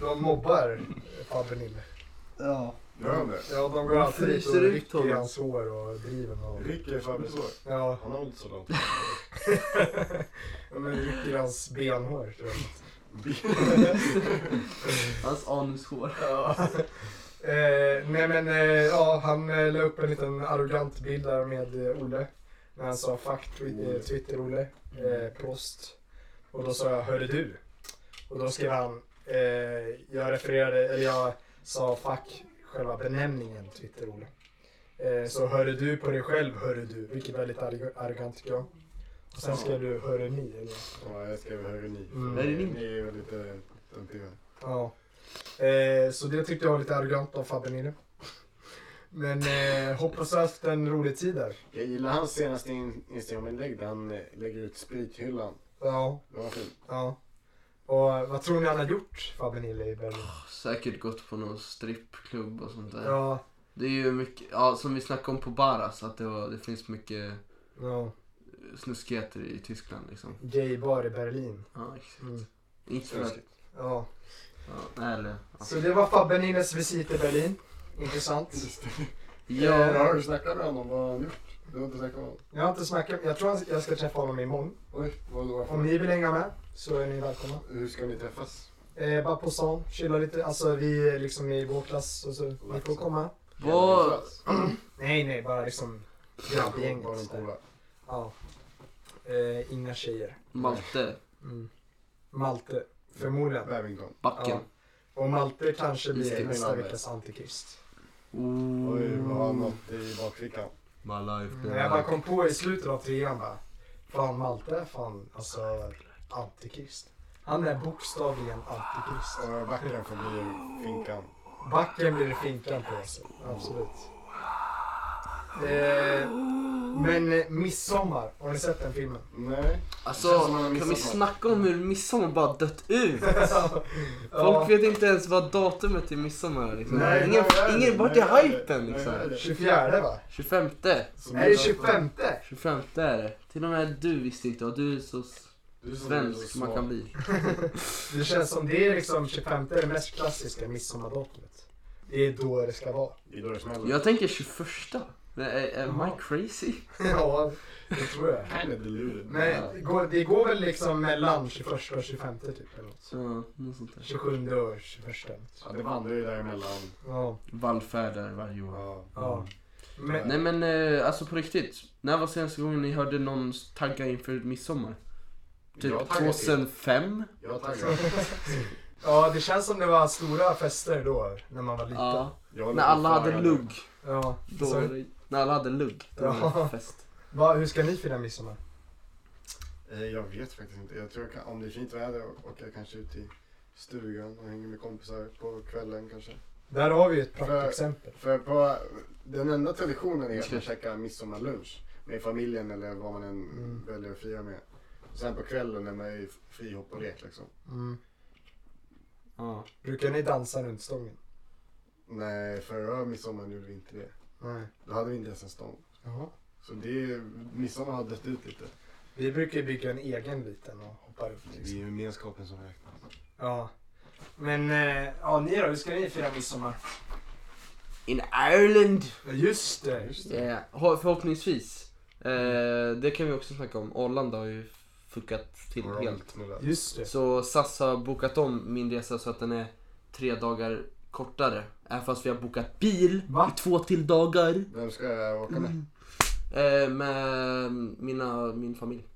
S1: De mobbar Fabbe-Nille.
S2: Ja.
S3: Gör han det?
S1: Ja, de går alltid dit och
S4: fryser ut
S1: rycker i
S4: honom.
S1: hans hår och driver med honom.
S3: Rycker Fabbes hår?
S1: Ja.
S3: Han har inte så långt.
S1: Ja, men rycker hans benhår tror jag.
S2: Hans anushår.
S1: Ja. Eh, nej men eh, ja, han eh, la upp en liten arrogant bild där med eh, Olle. När han sa fuck twi- eh, Twitter-Olle, eh, prost. Och då sa jag hörde du? Och då skrev han, eh, jag refererade, eller jag sa fuck själva benämningen Twitter-Olle. Eh, så hörde du på dig själv hörde du, vilket var lite arg- arrogant tycker jag. Och sen skrev du hörde ni eller?
S3: Ja, jag skrev högre ni.
S1: Mm.
S3: Ni är ju lite töntiga.
S1: Ja. Eh, så det tyckte jag var lite arrogant av Fabbe Nille. Men eh, hoppas du har haft en rolig tid där.
S3: Jag gillar hans senaste in- Instagram-inlägg där han eh, lägger ut sprithyllan.
S1: Ja,
S3: Det var fint.
S1: ja. Och eh, vad tror ni han har gjort, Fabbe Nille i Berlin?
S2: Säkert gått på någon strippklubb och sånt där.
S1: Ja,
S2: Det är ju mycket, ja som vi snackade om på Baras, att det, var, det finns mycket
S1: ja.
S2: snuskigheter i Tyskland liksom.
S1: Gaybar i Berlin.
S2: Ja, exakt.
S1: Mm.
S2: Inte för att,
S1: Ja.
S2: ja, nej, eller, ja.
S1: Så det var Fabbe Nilles visit i Berlin. Intressant.
S3: Ja.
S2: Ja,
S3: Eh, Har du snackat med honom? Vad har han gjort? Du har inte snackat med honom?
S1: Jag har inte snackat, jag tror han- jag ska träffa honom imorgon.
S3: Oj, vad då?
S1: Om ni vill hänga med så är ni välkomna.
S3: Hur ska ni träffas?
S1: Eh, bara på stan, chilla lite. Alltså vi är liksom i vår klass och så ni får komma.
S2: vad,
S1: Nej, nej, bara liksom
S3: Bara de
S1: grabbgänget. där.
S3: coola.
S1: Ja. Eh, inga tjejer.
S2: Malte,
S1: Mm. Malte, förmodligen.
S3: Babington.
S2: backen.
S1: Och Malte kanske
S2: Just det,
S1: blir nästa
S3: Malte.
S1: veckas antikrist.
S3: Oj, vad har
S2: Oh.
S3: han något i bakfickan?
S4: My life,
S1: Men Mm, jag bara kom på i slutet av trean bara. Fan Malte, fan alltså antikrist. Han är bokstavligen antikrist.
S3: Och backen får bli finkan.
S1: Backen blir det finkan på alltså. Absolut. Eh, men eh, Midsommar, har ni sett den filmen?
S3: Nej. Det
S7: Alltså,
S3: känns som man har
S7: kan vi
S3: missat något.
S7: snacka om hur midsommar bara dött ut?
S1: Ja.
S7: Folk vet inte ens vad datumet till midsommar är liksom.
S1: Nej,
S7: ingen,
S3: vad är det?
S7: ingen vart
S3: Nej, vad är
S7: är
S3: det?
S7: hypen liksom.
S3: Nej, vad är det?
S1: 24 va?
S7: 25.
S3: Som
S1: Är det 25?
S7: 25 är det. Till och med du visste inte och du är så
S3: Du är som
S7: svensk
S3: så
S7: man kan
S3: smart.
S7: bli.
S1: Det känns som det är liksom 25 är det mest klassiska midsommardatum. Det är då det ska vara.
S3: Det är då det smäller.
S7: Jag tänker 21. Men är, är am I
S1: Ja.
S7: crazy?
S1: ja, det tror jag.
S3: Kind of deluded.
S1: Men det går, det går väl liksom mellan 21 och 25 typ eller något.
S7: Så, något sånt där.
S1: 27 och 21.
S3: Ja, det vandrar ju däremellan.
S1: Ja,
S7: Vallfärdar varje år.
S3: Ja.
S1: ja. Men,
S7: Nej men eh, alltså på riktigt. När var senaste gången ni hörde någon tagga inför midsommar?
S3: Jag
S7: Typ
S3: taggar till.
S7: 2005?
S3: Jag taggar.
S1: ja, det känns som det var stora fester då när man var liten. Ja.
S7: Ja.
S3: Jag
S7: När alla hade
S3: Fan,
S7: lugg.
S1: ja.
S7: Då,
S1: Så,
S7: när alla hade lugg. Då
S1: Ja.
S7: var det fest.
S1: va, hur ska ni fira midsommar?
S3: Eh, Jag vet faktiskt inte. Jag tror jag kan, om det är fint väder åker jag kanske ut i stugan och hänger med kompisar på kvällen kanske.
S1: Där har vi ju ett
S3: För-
S1: praktexempel.
S3: För på, den enda traditionen är att
S7: Ursäkta.
S3: man käkar midsommarlunch med familjen eller vad man än
S1: Mm.
S3: väljer att fira med. Sen på kvällen är man ju frihopp och lek liksom.
S1: Mm.
S2: Ja.
S1: Brukar ni dansa runt stången?
S3: Nej, förra midsommaren gjorde vi inte det.
S1: Nej.
S3: Då hade vi inte ens en stång.
S1: Jaha.
S3: Så det, midsommar har dött ut lite.
S1: Vi brukar ju bygga en egen liten och hoppa runt.
S3: Det är
S1: Liksom.
S3: gemenskapen som räknas.
S1: Ja.
S8: Men eh, ja, ni då? Hur ska ni fira midsommar?
S4: In Ireland!
S1: Ja, Just det. Just det.
S4: Yeah. Ho- Eh, Förhoppningsvis. Eh, det kan vi också snacka om. Arland har ju fuckat till
S3: Har de
S4: helt.
S3: knullat?
S1: Just det.
S4: Så SAS har bokat om min resa så att den är tre dagar kortare. Även fast vi har bokat bil
S8: Va?
S4: i två till dagar.
S3: Vem ska jag åka med?
S4: Eh, med mina, min familj.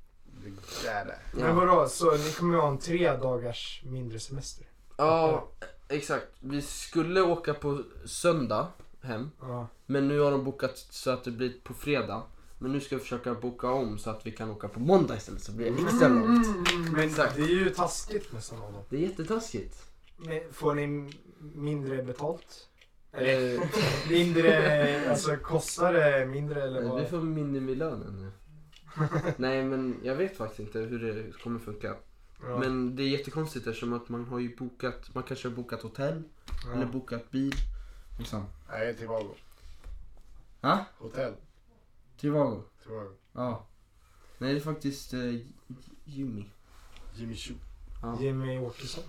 S3: Det är det.
S1: Men vadå, så ni kommer ju ha en tre dagars mindre semester?
S4: Ja, exakt. Vi skulle åka på söndag hem.
S1: Ja.
S4: Men nu har de bokat så att det blir på fredag. Men nu ska vi försöka boka om så att vi kan åka på måndag istället så blir det extra långt.
S1: Mm. Men
S4: Exakt.
S1: det är ju taskigt med sådana då.
S4: Det är jättetaskigt.
S1: Men får ni m- mindre betalt? Eller
S4: Eh,
S1: mindre, alltså kostar det mindre eller
S4: vi
S1: vad?
S4: Eh, får minimilönen nu. Nej men jag vet faktiskt inte hur det kommer funka.
S1: Ja.
S4: Men det är jättekonstigt eftersom att man har ju bokat, man kanske har bokat hotell
S1: Ja.
S4: eller bokat bil.
S2: Liksom.
S3: Nej, Trivago.
S2: Ha?
S3: Hotell.
S2: Trivago.
S3: Trivago.
S2: Ja.
S4: Nej det är faktiskt eh, Jimmy.
S3: Jimmy Choo.
S4: Ja,
S1: Jimmy Åkesson.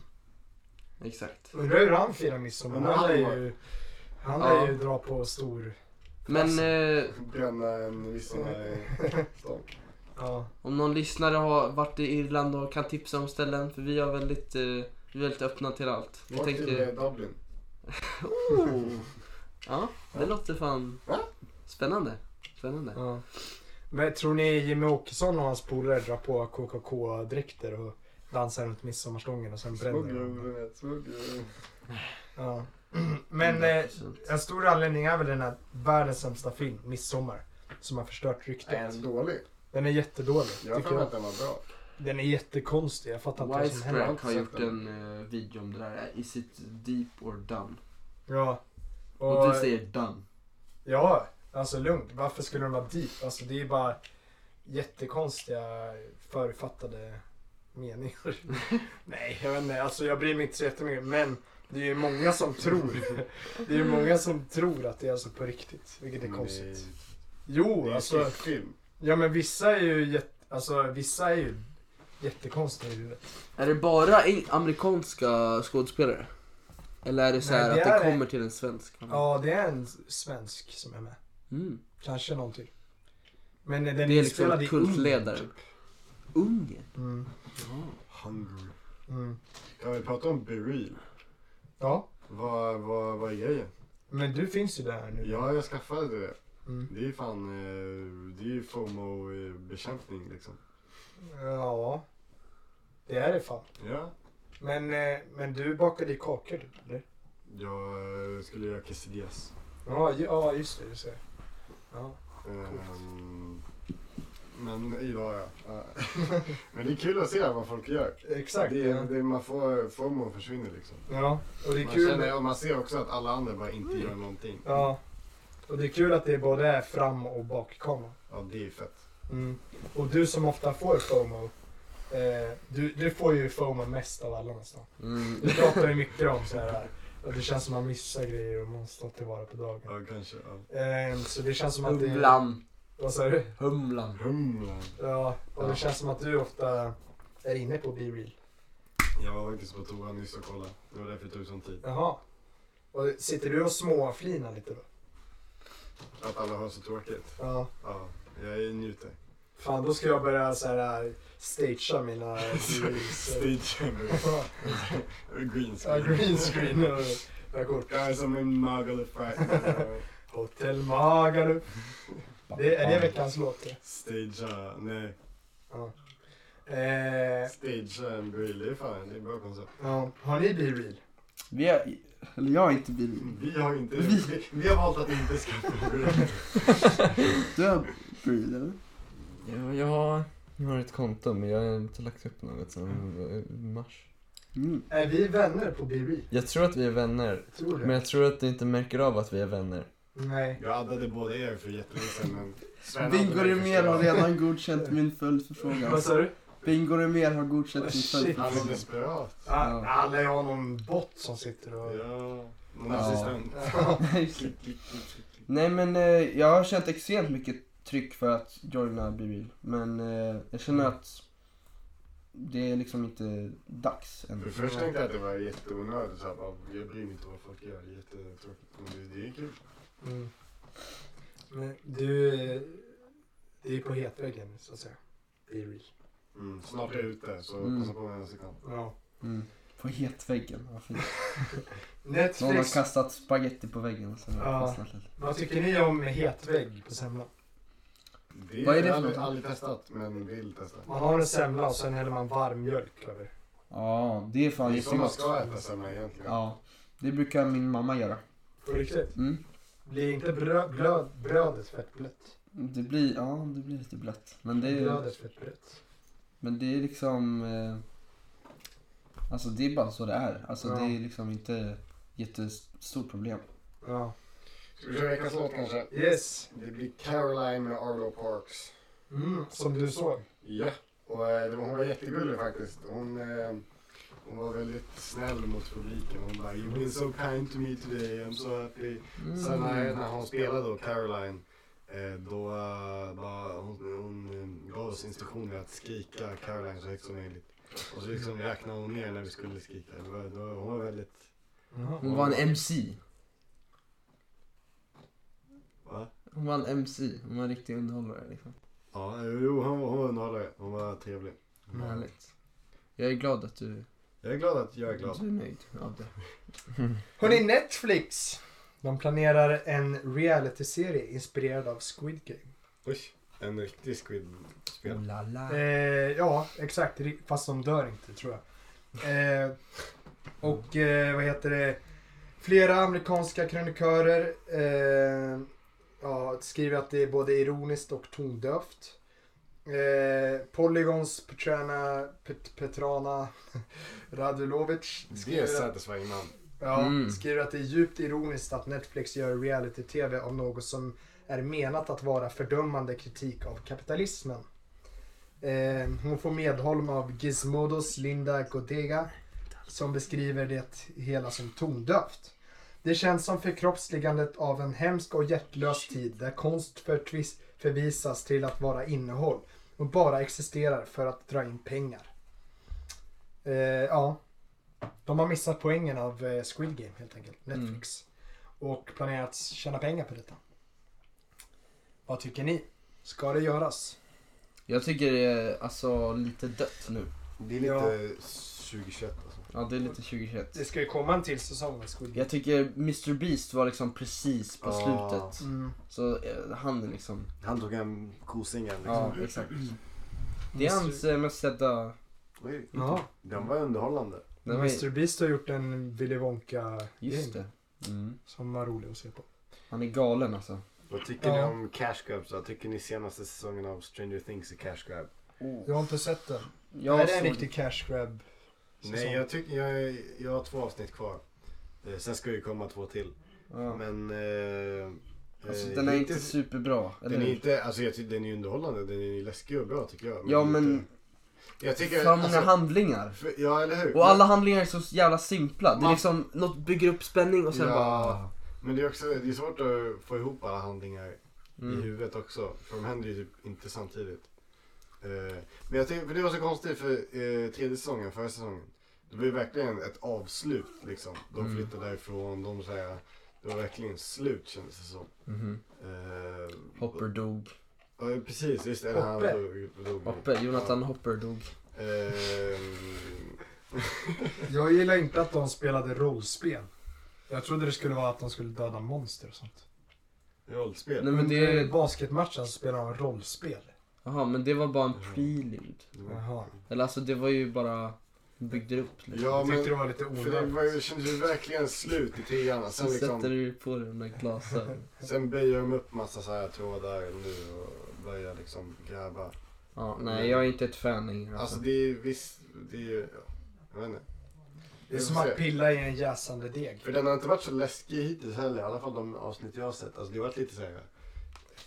S4: exakt.
S1: Undrar hur han firar midsommar.
S3: Men
S1: Han
S3: han
S1: är
S3: var-
S1: ju... Han lär
S4: Ja.
S1: ju dra på stor...
S4: Men eh,
S3: Bränna en eh, midsommarstång.
S1: Ja.
S4: Om någon lyssnare har varit i Irland och kan tipsa om ställen, för vi är väldigt, eh, vi är väldigt öppna till allt. Vi
S3: Åk till eh,
S4: tänker...
S3: Dublin.
S4: Oh. Ja, det låter fan spännande. Spännande.
S1: ja. Men tror ni Jimmy Åkesson och hans polare drar på KKK-dräkter och dansar runt midsommarstången och sen bränner de?
S3: Smuggel, smuggel.
S1: Ja. Men
S4: Mm.
S1: eh, en stor anledning är väl den här världens sämsta film, Midsommar, som har förstört
S3: Är den
S1: ryktet.
S3: dålig?
S1: Den är jättedålig,
S3: Jag har
S1: tycker
S3: för mig
S1: jag.
S3: att den var bra.
S1: Den är jättekonstig, jag fattar inte vad som händer.
S4: Wisecrack har
S3: Jag har inte
S4: gjort
S3: sett
S4: en eh, video om det där. Is it deep or done?
S1: Ja.
S4: Och,
S1: Och,
S4: du säger done.
S1: ja, alltså lugnt. Varför skulle den vara deep? Alltså det är bara jättekonstiga författade meningar. Nej, jag vet inte. Alltså jag bryr mig inte så jättemycket. Men det är ju många som tror. det är ju många som tror att det är alltså på riktigt. Vilket är
S3: Men
S1: konstigt.
S3: Det är
S1: Jo,
S3: ju
S1: alltså.
S3: skräckfilm.
S1: Ja men vissa är ju jätte, alltså vissa är ju jättekonstiga i huvudet.
S4: Är det bara i- amerikanska skådespelare? Eller är det så
S1: Nej,
S4: här
S1: det
S4: att
S1: är
S4: det
S1: det.
S4: kommer till en svensk?
S1: Ja, det är en svensk som är med.
S4: Mm.
S1: Kanske någon till. Men den är
S4: Det är liksom
S1: inspelad i
S4: kultledare.
S1: Ungern, typ.
S4: Ungern?
S1: Mm,
S3: Hungry.
S1: mm.
S3: Kan vi prata om Beryl?
S1: Ja,
S3: Vad, vad, vad är grejen?
S1: men du finns ju där nu.
S3: Ja, jag skaffade det.
S1: Mm.
S3: Det är ju fan, eh, det är ju FOMO-bekämpning liksom.
S1: Ja, det är det fan.
S3: Ja,
S1: Men, eh, men du bakade ju kakor du, eller?
S3: jag eh, skulle göra quesadillas.
S1: Ja, ju- ja just det. Just det. Ja.
S3: Ehm, men idag ja. Eh, men det är kul att se vad folk gör.
S1: Exakt.
S3: Det,
S1: Ja.
S3: är- det, man får, FOMO försvinner liksom.
S1: ja, och det är
S3: Man,
S1: kul.
S3: känner, och man ser också att alla andra bara inte gör någonting.
S1: Ja. Och det är kul att det är både är fram och bakkamera.
S3: Ja, det är fett.
S1: Mm. Och du som ofta får FOMO, eh, du, du får ju FOMO mest av alla nästan.
S4: Mm.
S1: Du pratar ju mycket om så här, och det känns som man missar grejer och man står tillvara på dagen.
S3: Ja, kanske. Ja.
S1: Eh, så det känns som att det...
S4: Humlan.
S1: Vad sa du?
S4: Humlan.
S3: Humlan.
S1: Ja, och det
S4: Ja.
S1: känns som att du ofta är inne på Be Real.
S3: Jag var faktiskt på toa nyss och kollade. Det var därför det tog sån tid.
S1: Jaha. Och sitter du och småflinar lite då?
S3: Att alla har så tråkigt.
S1: Ja.
S3: Ja, jag njuter.
S1: Fan, då ska jag börja så här äh, stagea mina Be Reals. äh,
S3: Stage Green
S1: Ja,
S3: screen.
S1: green screen och jag går
S3: Jag är som en mögelfärg.
S1: Hotel Magalu. Det, är det veckans låt? det?
S3: Stagea, nej.
S1: Ja. Eh,
S3: Stagea en grill, det är fan, det är bra koncept.
S1: ja. Har ni Be Real?
S2: Vi är... Eller jag är inte bil.
S3: Vi har inte, vi, vi har valt att inte skaffa grill.
S2: Du är bil, eller?
S9: Ja, jag har- jag har ett konto men jag har inte lagt upp något sedan eh, mars.
S2: Mm.
S1: Är vi vänner på Be Real?
S9: Jag tror att vi är vänner,
S1: Tror du?
S9: men jag tror att du inte märker av att vi är vänner.
S1: Nej.
S3: Jag addade båda er för jättelänge sedan men... Sven hade
S2: Bingo
S3: mig
S2: Rimér har
S3: förstört.
S2: redan godkänt min följdförfrågan.
S1: Vad sa du?
S2: Bingo mer har godkänt sin
S1: Alltså- Oh, Shit.
S2: följdfråga.
S3: Han är desperat.
S1: Ah, ah, nej, jag har någon bot som sitter och...
S3: Ja. Någon
S2: Ja.
S3: assistent.
S2: Nej, just det. Nej men eh, jag har känt extremt mycket tryck för att joina BBL. Men eh, jag känner att det är liksom inte dags än.
S3: För först tänkte jag att det var jätteonödigt. Så här, bara, jag bryr mig inte vad folk gör. Det är jättetråkigt. Men det- det är kul.
S1: Mm. Men du, eh, det är på hetväggen så att säga. Det är real.
S3: Mm. Snart är jag ute så
S2: Mm.
S3: passa på medan du kan.
S1: Ja.
S2: Mm. På hetväggen, vad fint. Någon har
S1: Netflix,
S2: kastat spaghetti på väggen så har det
S1: Ja.
S2: fastnat lite.
S1: vad tycker ni om hetvägg på semlan?
S3: Det
S2: Vad är det
S3: jag
S2: för
S3: har aldrig,
S2: något?
S3: aldrig testat men vill testa.
S1: Man har en semla och sen häller man varm mjölk över.
S2: Ja, det är
S3: Det
S2: fan
S3: är så man
S2: jättegott.
S3: ska äta semla egentligen.
S2: Ja, det brukar min mamma göra.
S1: På riktigt?
S2: Mm.
S1: Blir inte brö- blöd, brödet fett blött?
S2: Det blir, ja det blir lite blött. Men det är,
S1: Brödet fett blött.
S2: men det är liksom, eh, alltså det är bara så det är. Alltså
S1: Ja.
S2: det är liksom inte jättestort problem.
S1: Ja.
S3: Ska vi köra veckans låt kanske?
S1: Yes.
S3: Det blir Caroline med Arlo Parks.
S1: Mm, som du såg.
S3: Ja, och eh, det var- hon var jättegullig faktiskt. Hon, eh, hon var väldigt snäll mot publiken. Hon bara “You've been so kind to me today, I'm so happy”. Sen när, när hon spelade då, Caroline, eh, då eh, bara, hon, hon eh, gav oss instruktioner att skrika Caroline så högt som möjligt. Och så liksom räknade hon ner när vi skulle skrika. Det var, det var, hon var väldigt...
S2: Hon var en MC.
S3: Va?
S2: Hon var en MC. Hon var en riktig underhållare liksom.
S3: Ja, jo, hon, var- hon var underhållare. Hon var trevlig.
S1: Mm.
S2: Härligt. Jag är glad att du,
S3: Jag är glad att jag är
S2: du
S3: glad.
S4: Mm.
S2: är nöjd av det.
S1: Hörni, Netflix! De planerar en realityserie inspirerad av Squid Game.
S3: Oj, en riktig squid-spel.
S2: Oh la la.
S1: Eh, ja, exakt. Ri- Fast de dör inte, tror jag. Eh, och eh, vad heter det? Flera amerikanska krönikörer eh, ja, skriver att det är både ironiskt och tondövt. Eh, Polygons Petrana, Pet, Petrana Radulovic
S3: Det är
S1: skriver, att,
S3: satisfying man.
S1: ja,
S2: Mm.
S1: skriver att det är djupt ironiskt att Netflix gör reality-tv av något som är menat att vara fördömande kritik av kapitalismen. Eh, hon får medhåll av Gizmodos Linda Godega som beskriver det hela som tondövt. Det känns som förkroppsligandet av en hemsk och hjärtlös tid där konst förtvis- förvisas till att vara innehåll och bara existerar för att dra in pengar. Eh, ja, de har missat poängen av eh, Squid Game helt enkelt, Netflix. Och planerat att tjäna pengar på detta. Vad tycker ni? Ska det göras?
S2: Jag tycker det är alltså lite dött nu.
S3: Det är lite 2021 alltså.
S2: Ja, det är lite 2021.
S1: Det ska ju komma en till säsong med Squid Game.
S2: Jag tycker Mr Beast var liksom precis på
S3: Ja.
S2: slutet.
S1: Mm.
S2: Så eh, han är liksom...
S3: Han tog en kosingen liksom.
S2: Ja, exakt. Det är hans eh, mest sedda...
S3: Oj,
S1: Ja,
S3: Den var underhållande.
S2: Den var-
S1: Mr Beast har gjort en Willy Wonka
S2: Just det. Mm.
S1: som var rolig att se på.
S2: Han är galen alltså.
S3: Vad tycker
S1: Ja.
S3: ni om Cash Grab? Så tycker ni senaste säsongen av Stranger Things är Cash Grab?
S1: Jag har inte sett den.
S2: Jag
S1: är Oh. det en
S2: såg-
S1: riktig cash grab?
S3: Nej, jag, tycker, jag, jag har två avsnitt kvar. Eh, Sen ska ju komma två till.
S2: Ja.
S3: Men... Eh,
S2: Alltså,
S3: eh,
S2: den är
S3: hittills-
S2: inte superbra, eller
S3: Den är
S2: hur?
S3: inte, alltså jag tycker den är underhållande, den är läskig och bra tycker jag.
S2: Ja,
S3: den är
S2: men-
S3: inte- Jag tycker...
S2: För många
S3: alltså,
S2: handlingar.
S3: för, ja, eller hur?
S2: Och alla handlingar är så jävla simpla. Det är
S3: Man-
S2: liksom, något bygger upp spänning och sen
S3: Ja.
S2: bara...
S3: Men det är också det är svårt att få ihop alla handlingar i
S2: Mm.
S3: huvudet också. För de händer ju typ inte samtidigt. Eh, men jag tycker, för det var så konstigt för eh, tredje säsongen, förra säsongen. Det var ju verkligen ett avslut liksom. De
S2: Mm.
S3: flyttade därifrån, de så här, Det var verkligen slut kändes det som.
S2: Mhm.
S3: Eh,
S2: Hopper dog.
S3: Ja precis, just det. Han
S1: Hoppe.
S3: dog- dog.
S2: Hopper, Jonathan Hopper dog.
S3: Ja. Eh,
S1: Jag gillar inte att de spelade rollspel. Jag trodde det skulle vara att de skulle döda monster och sånt.
S3: rollspel.
S2: Nej men
S1: Under
S2: det...
S1: basketmatchen så spelar de rollspel.
S2: Jaha, men det var bara en prelude.
S1: Jaha.
S2: Eller alltså det var ju bara... Byggde upp liksom.
S3: Ja
S1: Jag tyckte
S3: men.
S1: det var lite
S3: För det,
S1: onödigt.
S3: var, ju- det kändes ju verkligen slut i trean. och
S2: Så
S3: Sen liksom,
S2: sätter du på dig de där glasögonen.
S3: Sen böjer de upp massa så här trådar nu och börjar liksom gräva.
S2: Ja, nej jag är inte ett fan längre.
S3: Alltså
S2: Alltså.
S3: det är visst, det är ju, jag vet inte.
S1: Det är som att pilla i en jäsande deg.
S3: För den har inte varit så läskig hittills heller, i alla fall de avsnitt jag har sett. Alltså det har varit lite så här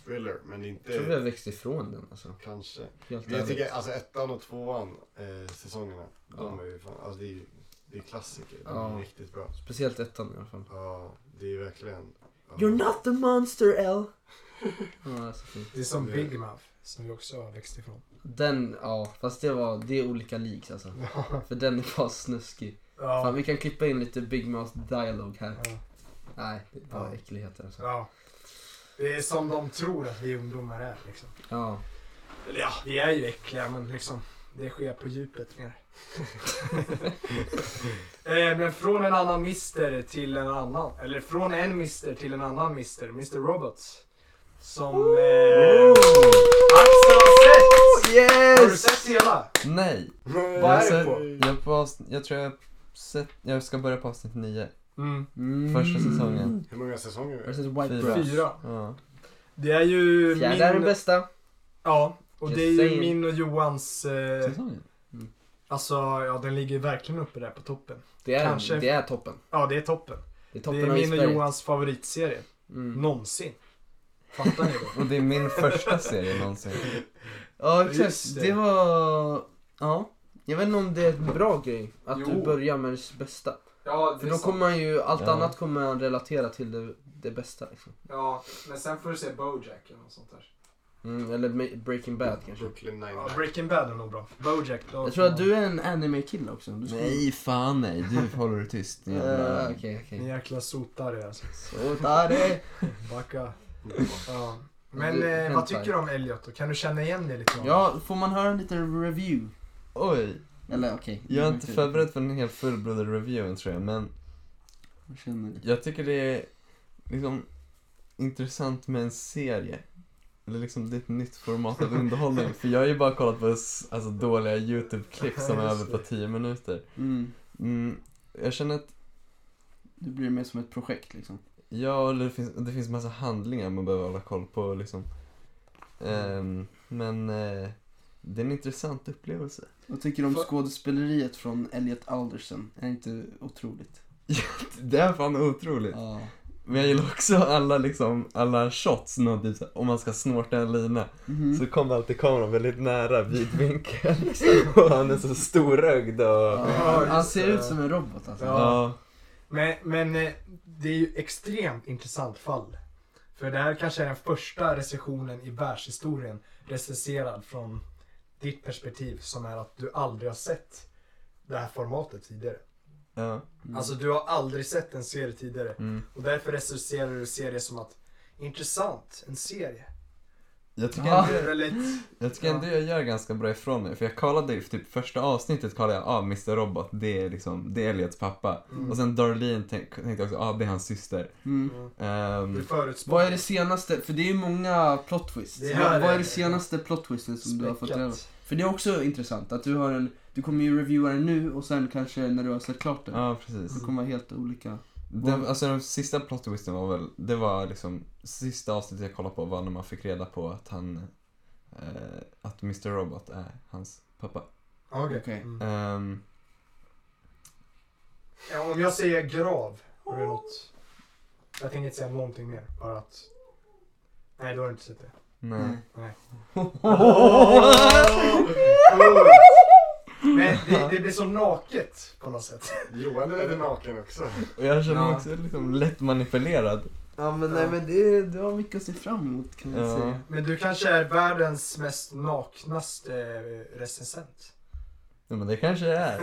S3: thriller, men
S2: Jag tror vi har
S3: inte
S2: växt ifrån den alltså.
S3: kanske.
S2: Helt
S3: Men jag
S2: ärligt.
S3: tycker alltså ettan och tvåan, eh, säsongerna, de är ju fan, alltså det är, ju- det är klassiker. De är
S2: Ja.
S3: riktigt bra.
S2: Speciellt ettan i alla fall.
S3: Ja, det är verkligen. ja.
S2: You're not a monster, L. ja, så fint.
S1: Det är som Big Mouth som vi också har växt ifrån.
S2: Den, ja, fast det var, det är olika leaks alltså. För den är bara snuskig.
S1: Ja.
S2: Fan, vi kan klippa in lite Big Mouth dialog här.
S1: Ja.
S2: Nej, det är bara
S1: Ja.
S2: äckligheter alltså.
S1: ja. Det är som de tror att vi ungdomar är liksom.
S2: Ja.
S1: Eller ja, vi är ju äckliga men liksom det sker på djupet mer. eh, men från en annan mister till en annan. Eller från en mister till en annan mister. Mr Robots. Som eh, Axel har sett! Har du
S2: Yes!
S1: sett hela?
S4: Nej!
S3: Nej.
S1: Vad
S4: jag,
S1: är det
S4: ser-
S1: på?
S4: jag, på avsnitt, jag tror jag, sett, jag ska börja på avsnitt nio.
S2: Mm.
S4: Första säsongen.
S3: Hur många säsonger
S2: Har
S3: är
S2: du
S3: det?
S2: sett White
S4: Fyra.
S2: Bros?
S1: Fyra.
S4: Ja.
S1: Det är ju
S2: Fjärde
S1: min...
S2: är den bästa.
S1: Ja, och
S2: Just
S1: det är ju
S2: saying.
S1: min och Johans... Eh,
S4: Säsongen?
S1: alltså, ja den ligger verkligen uppe där på toppen.
S2: Det är,
S1: Kanske.
S2: det är toppen.
S1: Ja, det är toppen.
S2: Det är toppen
S1: det är
S2: av
S1: min och
S2: isberget.
S1: Johans favoritserie.
S2: Mm.
S1: Någonsin. Fattar ni det?
S4: Och det är min första serie någonsin.
S2: Ja, exakt.
S1: Just det.
S2: Det var... Ja. Jag vet inte om det är en bra grej att
S6: Jo.
S2: du börjar med det bästa.
S6: Ja, det
S2: För
S6: är
S2: då
S6: sant.
S2: kommer man ju, allt
S4: Ja.
S2: annat kommer man relatera till det, det bästa. Liksom.
S6: Ja, men sen får du se Bojack eller något sånt där.
S2: Mm, eller Ma- Breaking Bad kanske.
S3: Brooklyn
S1: Ja,
S3: 99.
S1: Breaking Bad är nog bra. Bojack då.
S2: Jag tror att du är en anime-kille också. Du ska-
S4: Nej, fan nej. Du håller dig tyst.
S2: Eh,
S4: jävla-
S2: Okej,
S1: Ni
S2: okej.
S1: jäkla sotare alltså.
S2: Så där är-
S1: Backa. Ja. Men
S2: Du,
S1: eh, vad
S2: hämta.
S1: tycker du om Elliot då? Kan du känna igen det lite? grann?
S2: Ja, får man höra en liten review?
S4: Oj,
S2: Eller okej.
S4: jag är inte förberedd för en helt fullblodig review tror jag, men
S2: Jag känner-
S4: jag tycker det är liksom intressant med en serie. Eller liksom det är ett nytt format av underhållning. för jag har ju bara kollat på s- alltså, dåliga YouTube-klipp som är
S1: Ja, just
S4: över på
S1: det.
S4: 10 minuter.
S2: Mm,
S4: Mm, jag känner att,
S2: det blir mer som ett projekt liksom.
S4: ja, eller det finns, det finns massa handlingar man behöver hålla koll på liksom. Ehm, men eh, det är en intressant upplevelse.
S2: Vad tycker du om
S6: För-
S2: skådespeleriet från Elliot Alderson? Är inte otroligt?
S4: Det är fan otroligt.
S2: Ja.
S4: Men jag gillar också alla liksom, alla shots när typ såhär, om man ska snorta en lina
S2: Mhm.
S4: så kommer alltid kameran väldigt nära vidvinkeln och han är så storögd och... Ja.
S2: Ja, han
S1: just
S2: ser
S1: det.
S2: ut som en robot alltså.
S1: Ja. Men, men eh, det är ju extremt intressant fall. För det här kanske är den första recensionen i världshistorien recenserad från ditt perspektiv som är att du aldrig har sett det här formatet tidigare.
S4: ja.
S2: Mm.
S1: Alltså du har aldrig sett en serie tidigare
S4: Mm.
S1: och därför recenserar du serier som att intressant, en serie.
S4: Jag tycker,
S2: Ja.
S1: Ja.
S4: ändå,
S1: Det är väldigt,
S4: jag tycker ändå jag gör ganska bra ifrån mig för jag kollade ju- för typ första avsnittet kollade jag, ah Mr Robot det är liksom, det är Elliots pappa. Och sen Darlene tänk, tänkte jag också, ah det är hans syster.
S2: Mm.
S1: du
S4: Ehm,
S1: förutspår.
S2: Vad är det senaste? För det är ju många plot twists.
S1: Det
S2: vad,
S1: här
S2: vad
S1: är-
S2: är det senaste plot twisten som du har fått
S1: Späckat.
S2: reda på? För det är också intressant att du har en... Du kommer ju reviewa den nu och sen kanske när du har sett klart den.
S4: ja precis.
S2: Det kommer vara helt olika.
S4: Den, alltså den sista plot twisten var väl, det var liksom, sista avsnittet jag kollade på var när man fick reda på att han, eh, att Mr Robot är hans pappa.
S1: Okej.
S2: Okej.
S1: Mm.
S4: Ehm,
S1: Ja, om jag säger grav, har du något? Jag tänker inte säga någonting mer, bara att... Nej, du har inte sett det.
S4: nej.
S1: Men det, det blir så naket på något sätt.
S3: Johan är lite naken också.
S4: Och jag känner mig
S1: Ja.
S4: också liksom lätt manipulerad.
S2: Ja men
S1: nej,
S2: men det, det var mycket att se fram emot kan
S4: man Ja. säga.
S1: Men du kanske är världens mest naknaste eh, recensent.
S4: Ja, men det kanske det är.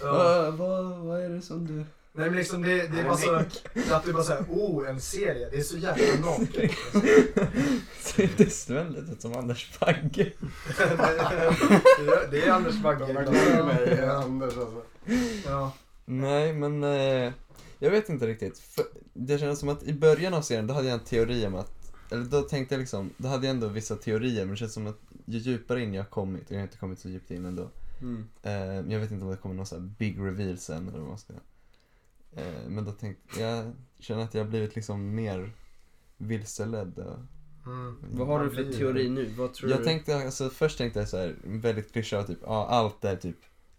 S1: Ja.
S2: vad, vad är det som du...
S1: Nej men liksom det, det är bara så att du bara säger oh en serie, det är så jävla naket.
S4: Ser inte Sven lite ut som Anders Bagge?
S1: det är Anders
S3: De
S1: Bagge.
S3: verkar mig, Anders alltså.
S1: Ja.
S4: Nej, men eh, jag vet inte riktigt. För det kändes som att i början av serien, då hade jag en teori om att, eller då tänkte jag liksom, då hade jag ändå vissa teorier, men det känns som att ju djupare in jag kommit, och jag har inte kommit så djupt in ändå,
S7: Mm.
S4: eh, jag vet inte om det kommer någon så här big reveal sen eller vad man ska eh, Men då tänkte jag, känner att jag har blivit liksom mer vilseledd. Och,
S1: Mm.
S2: Vad har du för teori nu? Vad tror
S4: jag
S2: du?
S4: tänkte, alltså först tänkte jag så här, väldigt klyscha typ, ja allt är typ,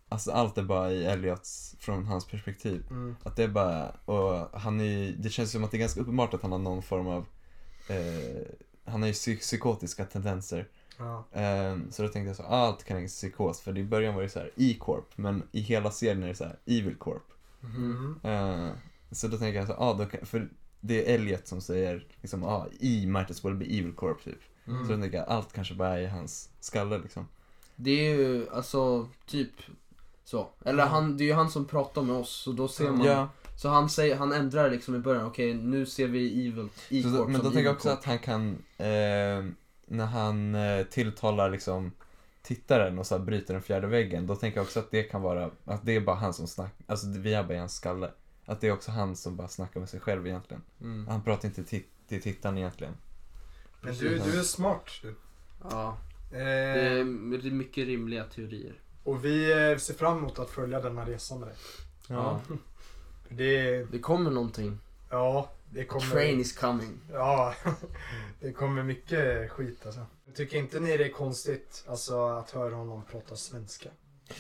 S4: alltså allt är bara i Elliots, från hans perspektiv.
S1: Mm.
S4: Att det är bara, och han är ju- det känns som att det är ganska uppenbart att han har någon form av eh, han har ju psy- psykotiska tendenser.
S1: Ja.
S4: Ehm, så då tänkte jag så, allt kan hänga psykos. För i början var det så här E-Corp, men i hela serien är det så här Evil Corp.
S1: Mm.
S4: Eh, så då tänker jag så, ah, då kan, för det är Elliot som säger liksom, ah, E might as well be Evil Corp typ.
S1: Mm.
S4: Så
S3: Mm.
S4: då tänker jag, allt kanske bara är i hans skalle liksom.
S7: Det är ju alltså typ så. Eller han, det är ju han som pratar med oss så då ser man.
S4: Ja,
S7: Så han, säger, han ändrar liksom i början, okej nu ser vi evil, e
S4: så, men då tänker jag också att han kan, eh, när han eh, tilltalar liksom tittaren och så här bryter den fjärde väggen, då tänker jag också att det kan vara, att det är bara han som snackar, alltså vi är bara i hans skalle. Att det är också han som bara snackar med sig själv egentligen.
S7: Mm.
S4: Han pratar inte till, till tittaren egentligen.
S1: Men du, du är smart du.
S7: Ja, det
S1: Eh,
S7: är det är mycket rimliga teorier.
S1: och vi eh, ser fram emot att följa den här resan med dig.
S7: Ja.
S1: Det,
S7: Det kommer någonting.
S1: ja, det
S7: Train
S1: kommer...
S7: is coming.
S1: Ja, det kommer mycket skit alltså. Tycker inte ni det är konstigt alltså, att höra honom prata svenska?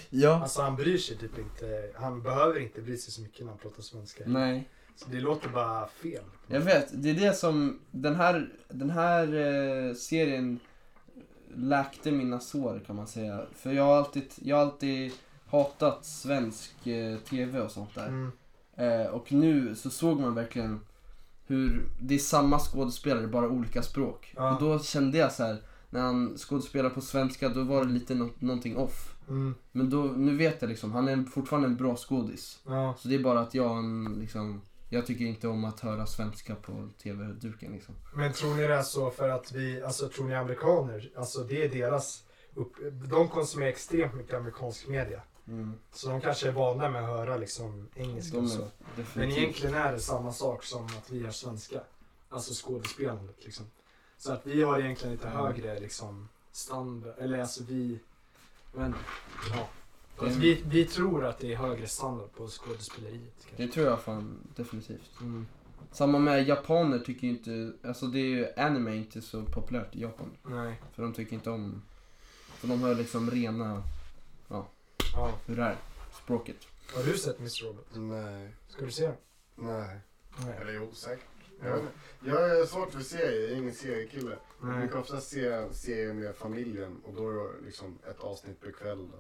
S4: Ja,
S1: Alltså han bryr sig typ inte. Han behöver inte bry sig så mycket när han pratar svenska.
S2: Nej.
S1: Så det låter bara fel.
S2: Jag vet, det är det som den här, den här eh, serien läkte mina sår kan man säga. För jag har alltid, jag har alltid hatat svensk eh, tv och sånt där.
S1: Mm.
S2: Eh, och nu så såg man verkligen hur det är samma skådespelare, bara olika språk.
S1: Ja.
S2: Och då kände jag så här när han skådespelar på svenska då var det lite nå- någonting off.
S1: Mm.
S2: Men då, nu vet jag liksom, han är fortfarande en bra skådis.
S1: Ja.
S2: Så Alltså, det är bara att jag mm, liksom, jag tycker inte om att höra svenska på tv-duken liksom.
S1: Men tror ni det är så för att vi, alltså tror ni amerikaner, alltså det är deras, upp, de konsumerar extremt mycket amerikansk media. Så de kanske är vana med att höra liksom Mm. engelska
S2: De
S1: och
S2: är
S1: så. Men
S2: definitivt...
S1: egentligen är det samma sak som att vi är svenska. Alltså skådespelandet liksom. Så att vi har egentligen lite högre liksom standard, eller alltså vi, jag vet inte. ja. För att vi, vi tror att det är högre standard på skådespeleriet kanske.
S2: Det tror jag fan definitivt.
S1: Mm.
S2: Samma med japaner tycker ju inte, alltså det är ju, anime är inte så populärt i Japan.
S1: Nej.
S2: För de tycker inte om, för de har liksom rena,
S1: Ja.
S2: hur det är, språket.
S1: Har du sett Mr. Robot?
S3: Nej.
S1: Ska du se den?
S3: Nej.
S1: Nej.
S3: Eller jo, säkert. Jag, vet inte. jag är svårt för serier, jag är ingen seriekille. Jag brukar ofta se serier med familjen och då är det liksom ett avsnitt per kväll. Då.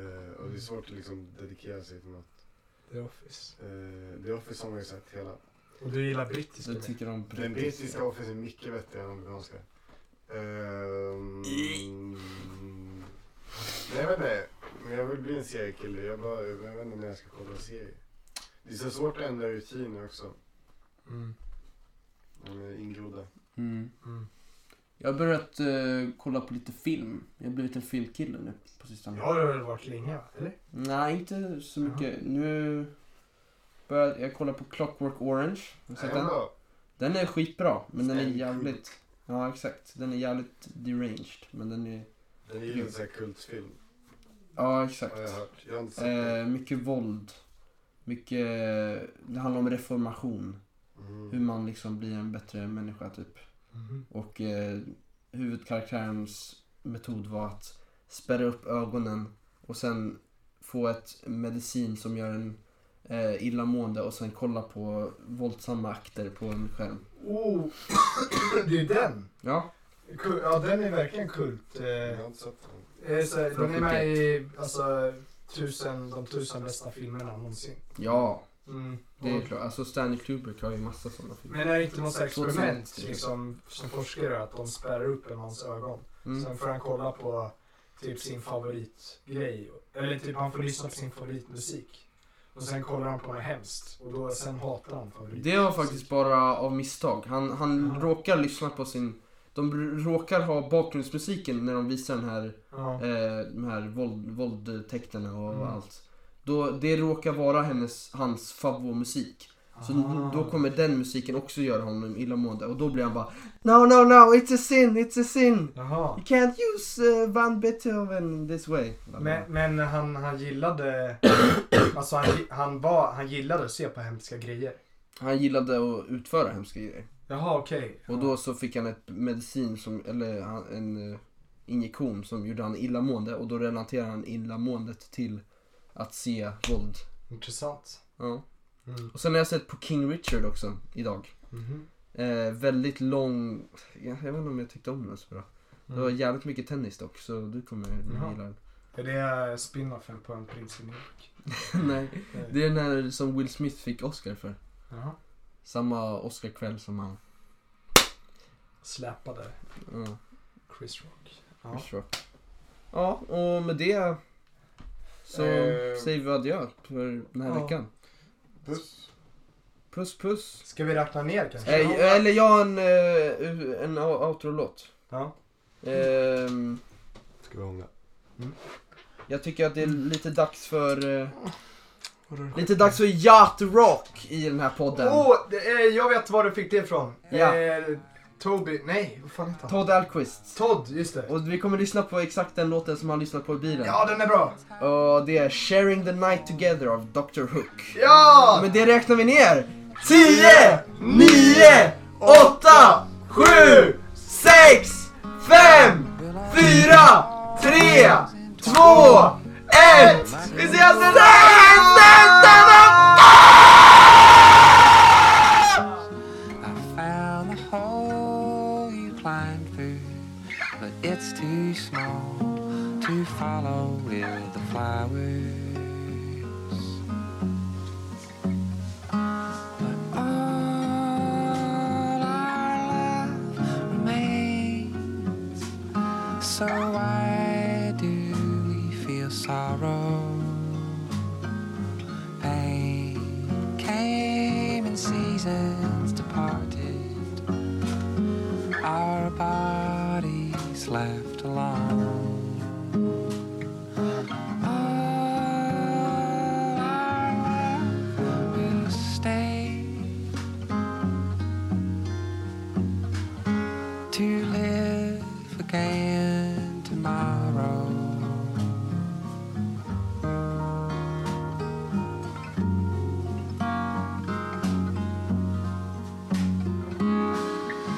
S3: Eh, och det är svårt att liksom dedikera sig till något.
S1: The Office.
S3: Uh, The Office har man ju sett hela.
S1: Och du gillar brittiska?
S2: Så jag tycker de
S3: Den brittiska Office är mycket bättre än den amerikanska. Ehm, nej, jag vet inte. Men jag vill bli en seriekille. Jag, bara, jag vet inte när jag ska kolla serier. Det är så svårt att ändra rutiner också.
S1: Mm.
S3: De är ingrodda.
S2: Mm.
S1: Mm.
S2: Jag har börjat eh, kolla på lite film. Jag har blivit en filmkille nu på sistone.
S1: Jag har väl varit länge, va? eller?
S2: Nej, inte så mycket. Nu börjar jag kolla på Clockwork Orange. Har du sett den?
S3: Ändå.
S2: Den är skitbra, men den är
S3: Stanley
S2: jävligt... Ja, exakt. Den är jävligt deranged, men den är...
S3: Den är ju en sån här kultfilm.
S2: Ja,
S3: Har jag
S2: exakt.
S3: hört. Jag har inte sett den.
S2: Eh, mycket våld. Mycket... Det handlar om reformation. Hur
S3: Mm.
S2: man liksom blir en bättre människa, typ. Och eh, huvudkaraktärens metod var att spärra upp ögonen och sen få ett medicin som gör en eh, illamående och sen kolla på våldsamma akter på en skärm.
S1: Oh, det är den!
S2: Ja,
S1: Kul- Ja, den är verkligen kult. Eh,
S3: Jag har inte sett den.
S1: är Eh, så här, den är med i alltså, tusen, de tusen bästa filmerna någonsin.
S2: ja.
S1: Mm.
S2: Det är
S1: Och-
S2: klart, alltså Stanley Kubrick har ju massa sådana filmer.
S1: Men är det inte något så här experiment
S2: 2001,
S1: liksom, som forskare att de spärrar upp en hans ögon?
S2: Mm.
S1: Sen får han kolla på typ sin favoritgrej. Eller typ han får lyssna på sin favoritmusik. Och sen kollar han på något hemskt. Och då, sen hatar han favoritmusik.
S2: Det var faktiskt bara av misstag. Han, han
S1: Ja.
S2: råkar lyssna på sin... De br- råkar ha bakgrundsmusiken när de visar den här,
S1: Ja.
S2: eh, de här våld, våldtäkterna och
S1: Mm.
S2: allt. Då, det råkar vara hennes, hans favoritmusik. Så
S1: Ah.
S2: då kommer den musiken också göra honom illamående och då blir han bara No, no, no, it's a sin, it's a sin!
S1: Jaha.
S2: You can't use uh, van Beethoven this way.
S1: Men, men han, han gillade, alltså han, han, var, han gillade att se på hemska grejer.
S2: Han gillade att utföra hemska grejer.
S1: Jaha okej.
S2: Och då så fick han ett medicin, som, eller han- en eh, injektion som gjorde han illamående och då relaterar han illamåendet till att se våld.
S1: Intressant.
S2: Ja.
S1: Mm.
S2: Och sen har jag sett på King Richard också idag.
S1: Mhm.
S2: Eh, Eh, väldigt lång, jag, jag vet inte om jag tyckte om den så bra. Det var jävligt mycket tennis dock så du kommer
S1: Mm. Jaha.
S2: gilla den.
S1: Är det eh, spinoffen på en prins i New York?
S2: Nej, det är den här som Will Smith fick Oscar för.
S1: Jaha.
S2: Samma Oscarkväll som han.
S1: Släpade
S2: Ja,
S1: Chris Rock.
S2: ja.
S1: Ja.
S2: ja, och med det så
S3: Eh.
S2: säger vi adjö för den här
S1: Ja.
S2: veckan.
S3: Puss.
S2: Puss puss.
S1: Ska vi räkna ner kanske?
S2: Eh, eller jag har en, eh, en o- outro-låt.
S1: Ja.
S2: Ehm,
S3: Ska vi hångla?
S2: jag tycker att det är lite dags för... eh, lite dags för Yacht Rock i den här podden.
S1: Åh, det är- jag vet var du fick det ifrån.
S2: Ja.
S1: Eh, Toby, nej vad fan heter han?
S2: Todd Alquist.
S1: Todd, just det.
S2: Och vi kommer lyssna på exakt den låten som han lyssnar på i bilen.
S1: Ja, den är bra.
S2: Och det är Sharing the Night Together av Dr Hook.
S1: Ja!
S2: Men det räknar vi ner. 10, 9, 8, 7, 6, 5, 4, 3, 2, 1. Vi ses nästa vecka!
S5: I found the hole you climbed through, but it's too small to follow with the flowers. But all our love remains, so why do we feel sorrow? pain came in seasons departed. Our bodies left alone. All our love will stay to live again tomorrow.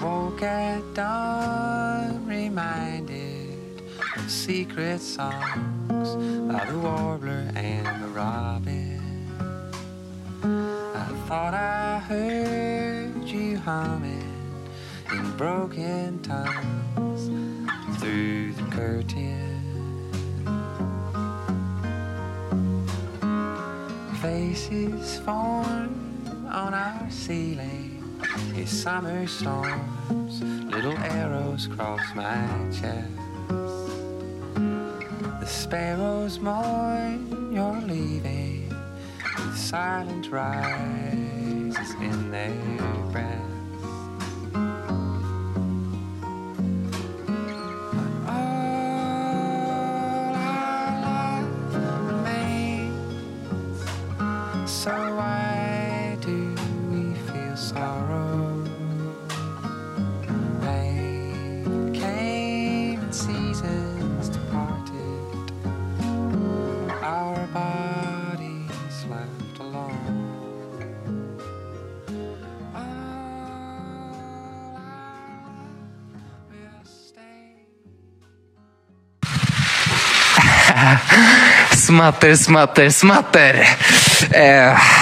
S5: woke at dawn, reminded of secret songs by the warbler and the robin. I thought I heard you humming in broken tongues through the curtain. faces form on our ceiling. It's summer storms, little arrows cross my chest. The sparrows mourn you're leaving, with silent rises in their breath. All our love remains. So why do we feel sorrow? Pain came in seasons departed. Our bodies left alone. All our love will stay.
S10: Smatter, smatter, smatter. Eh.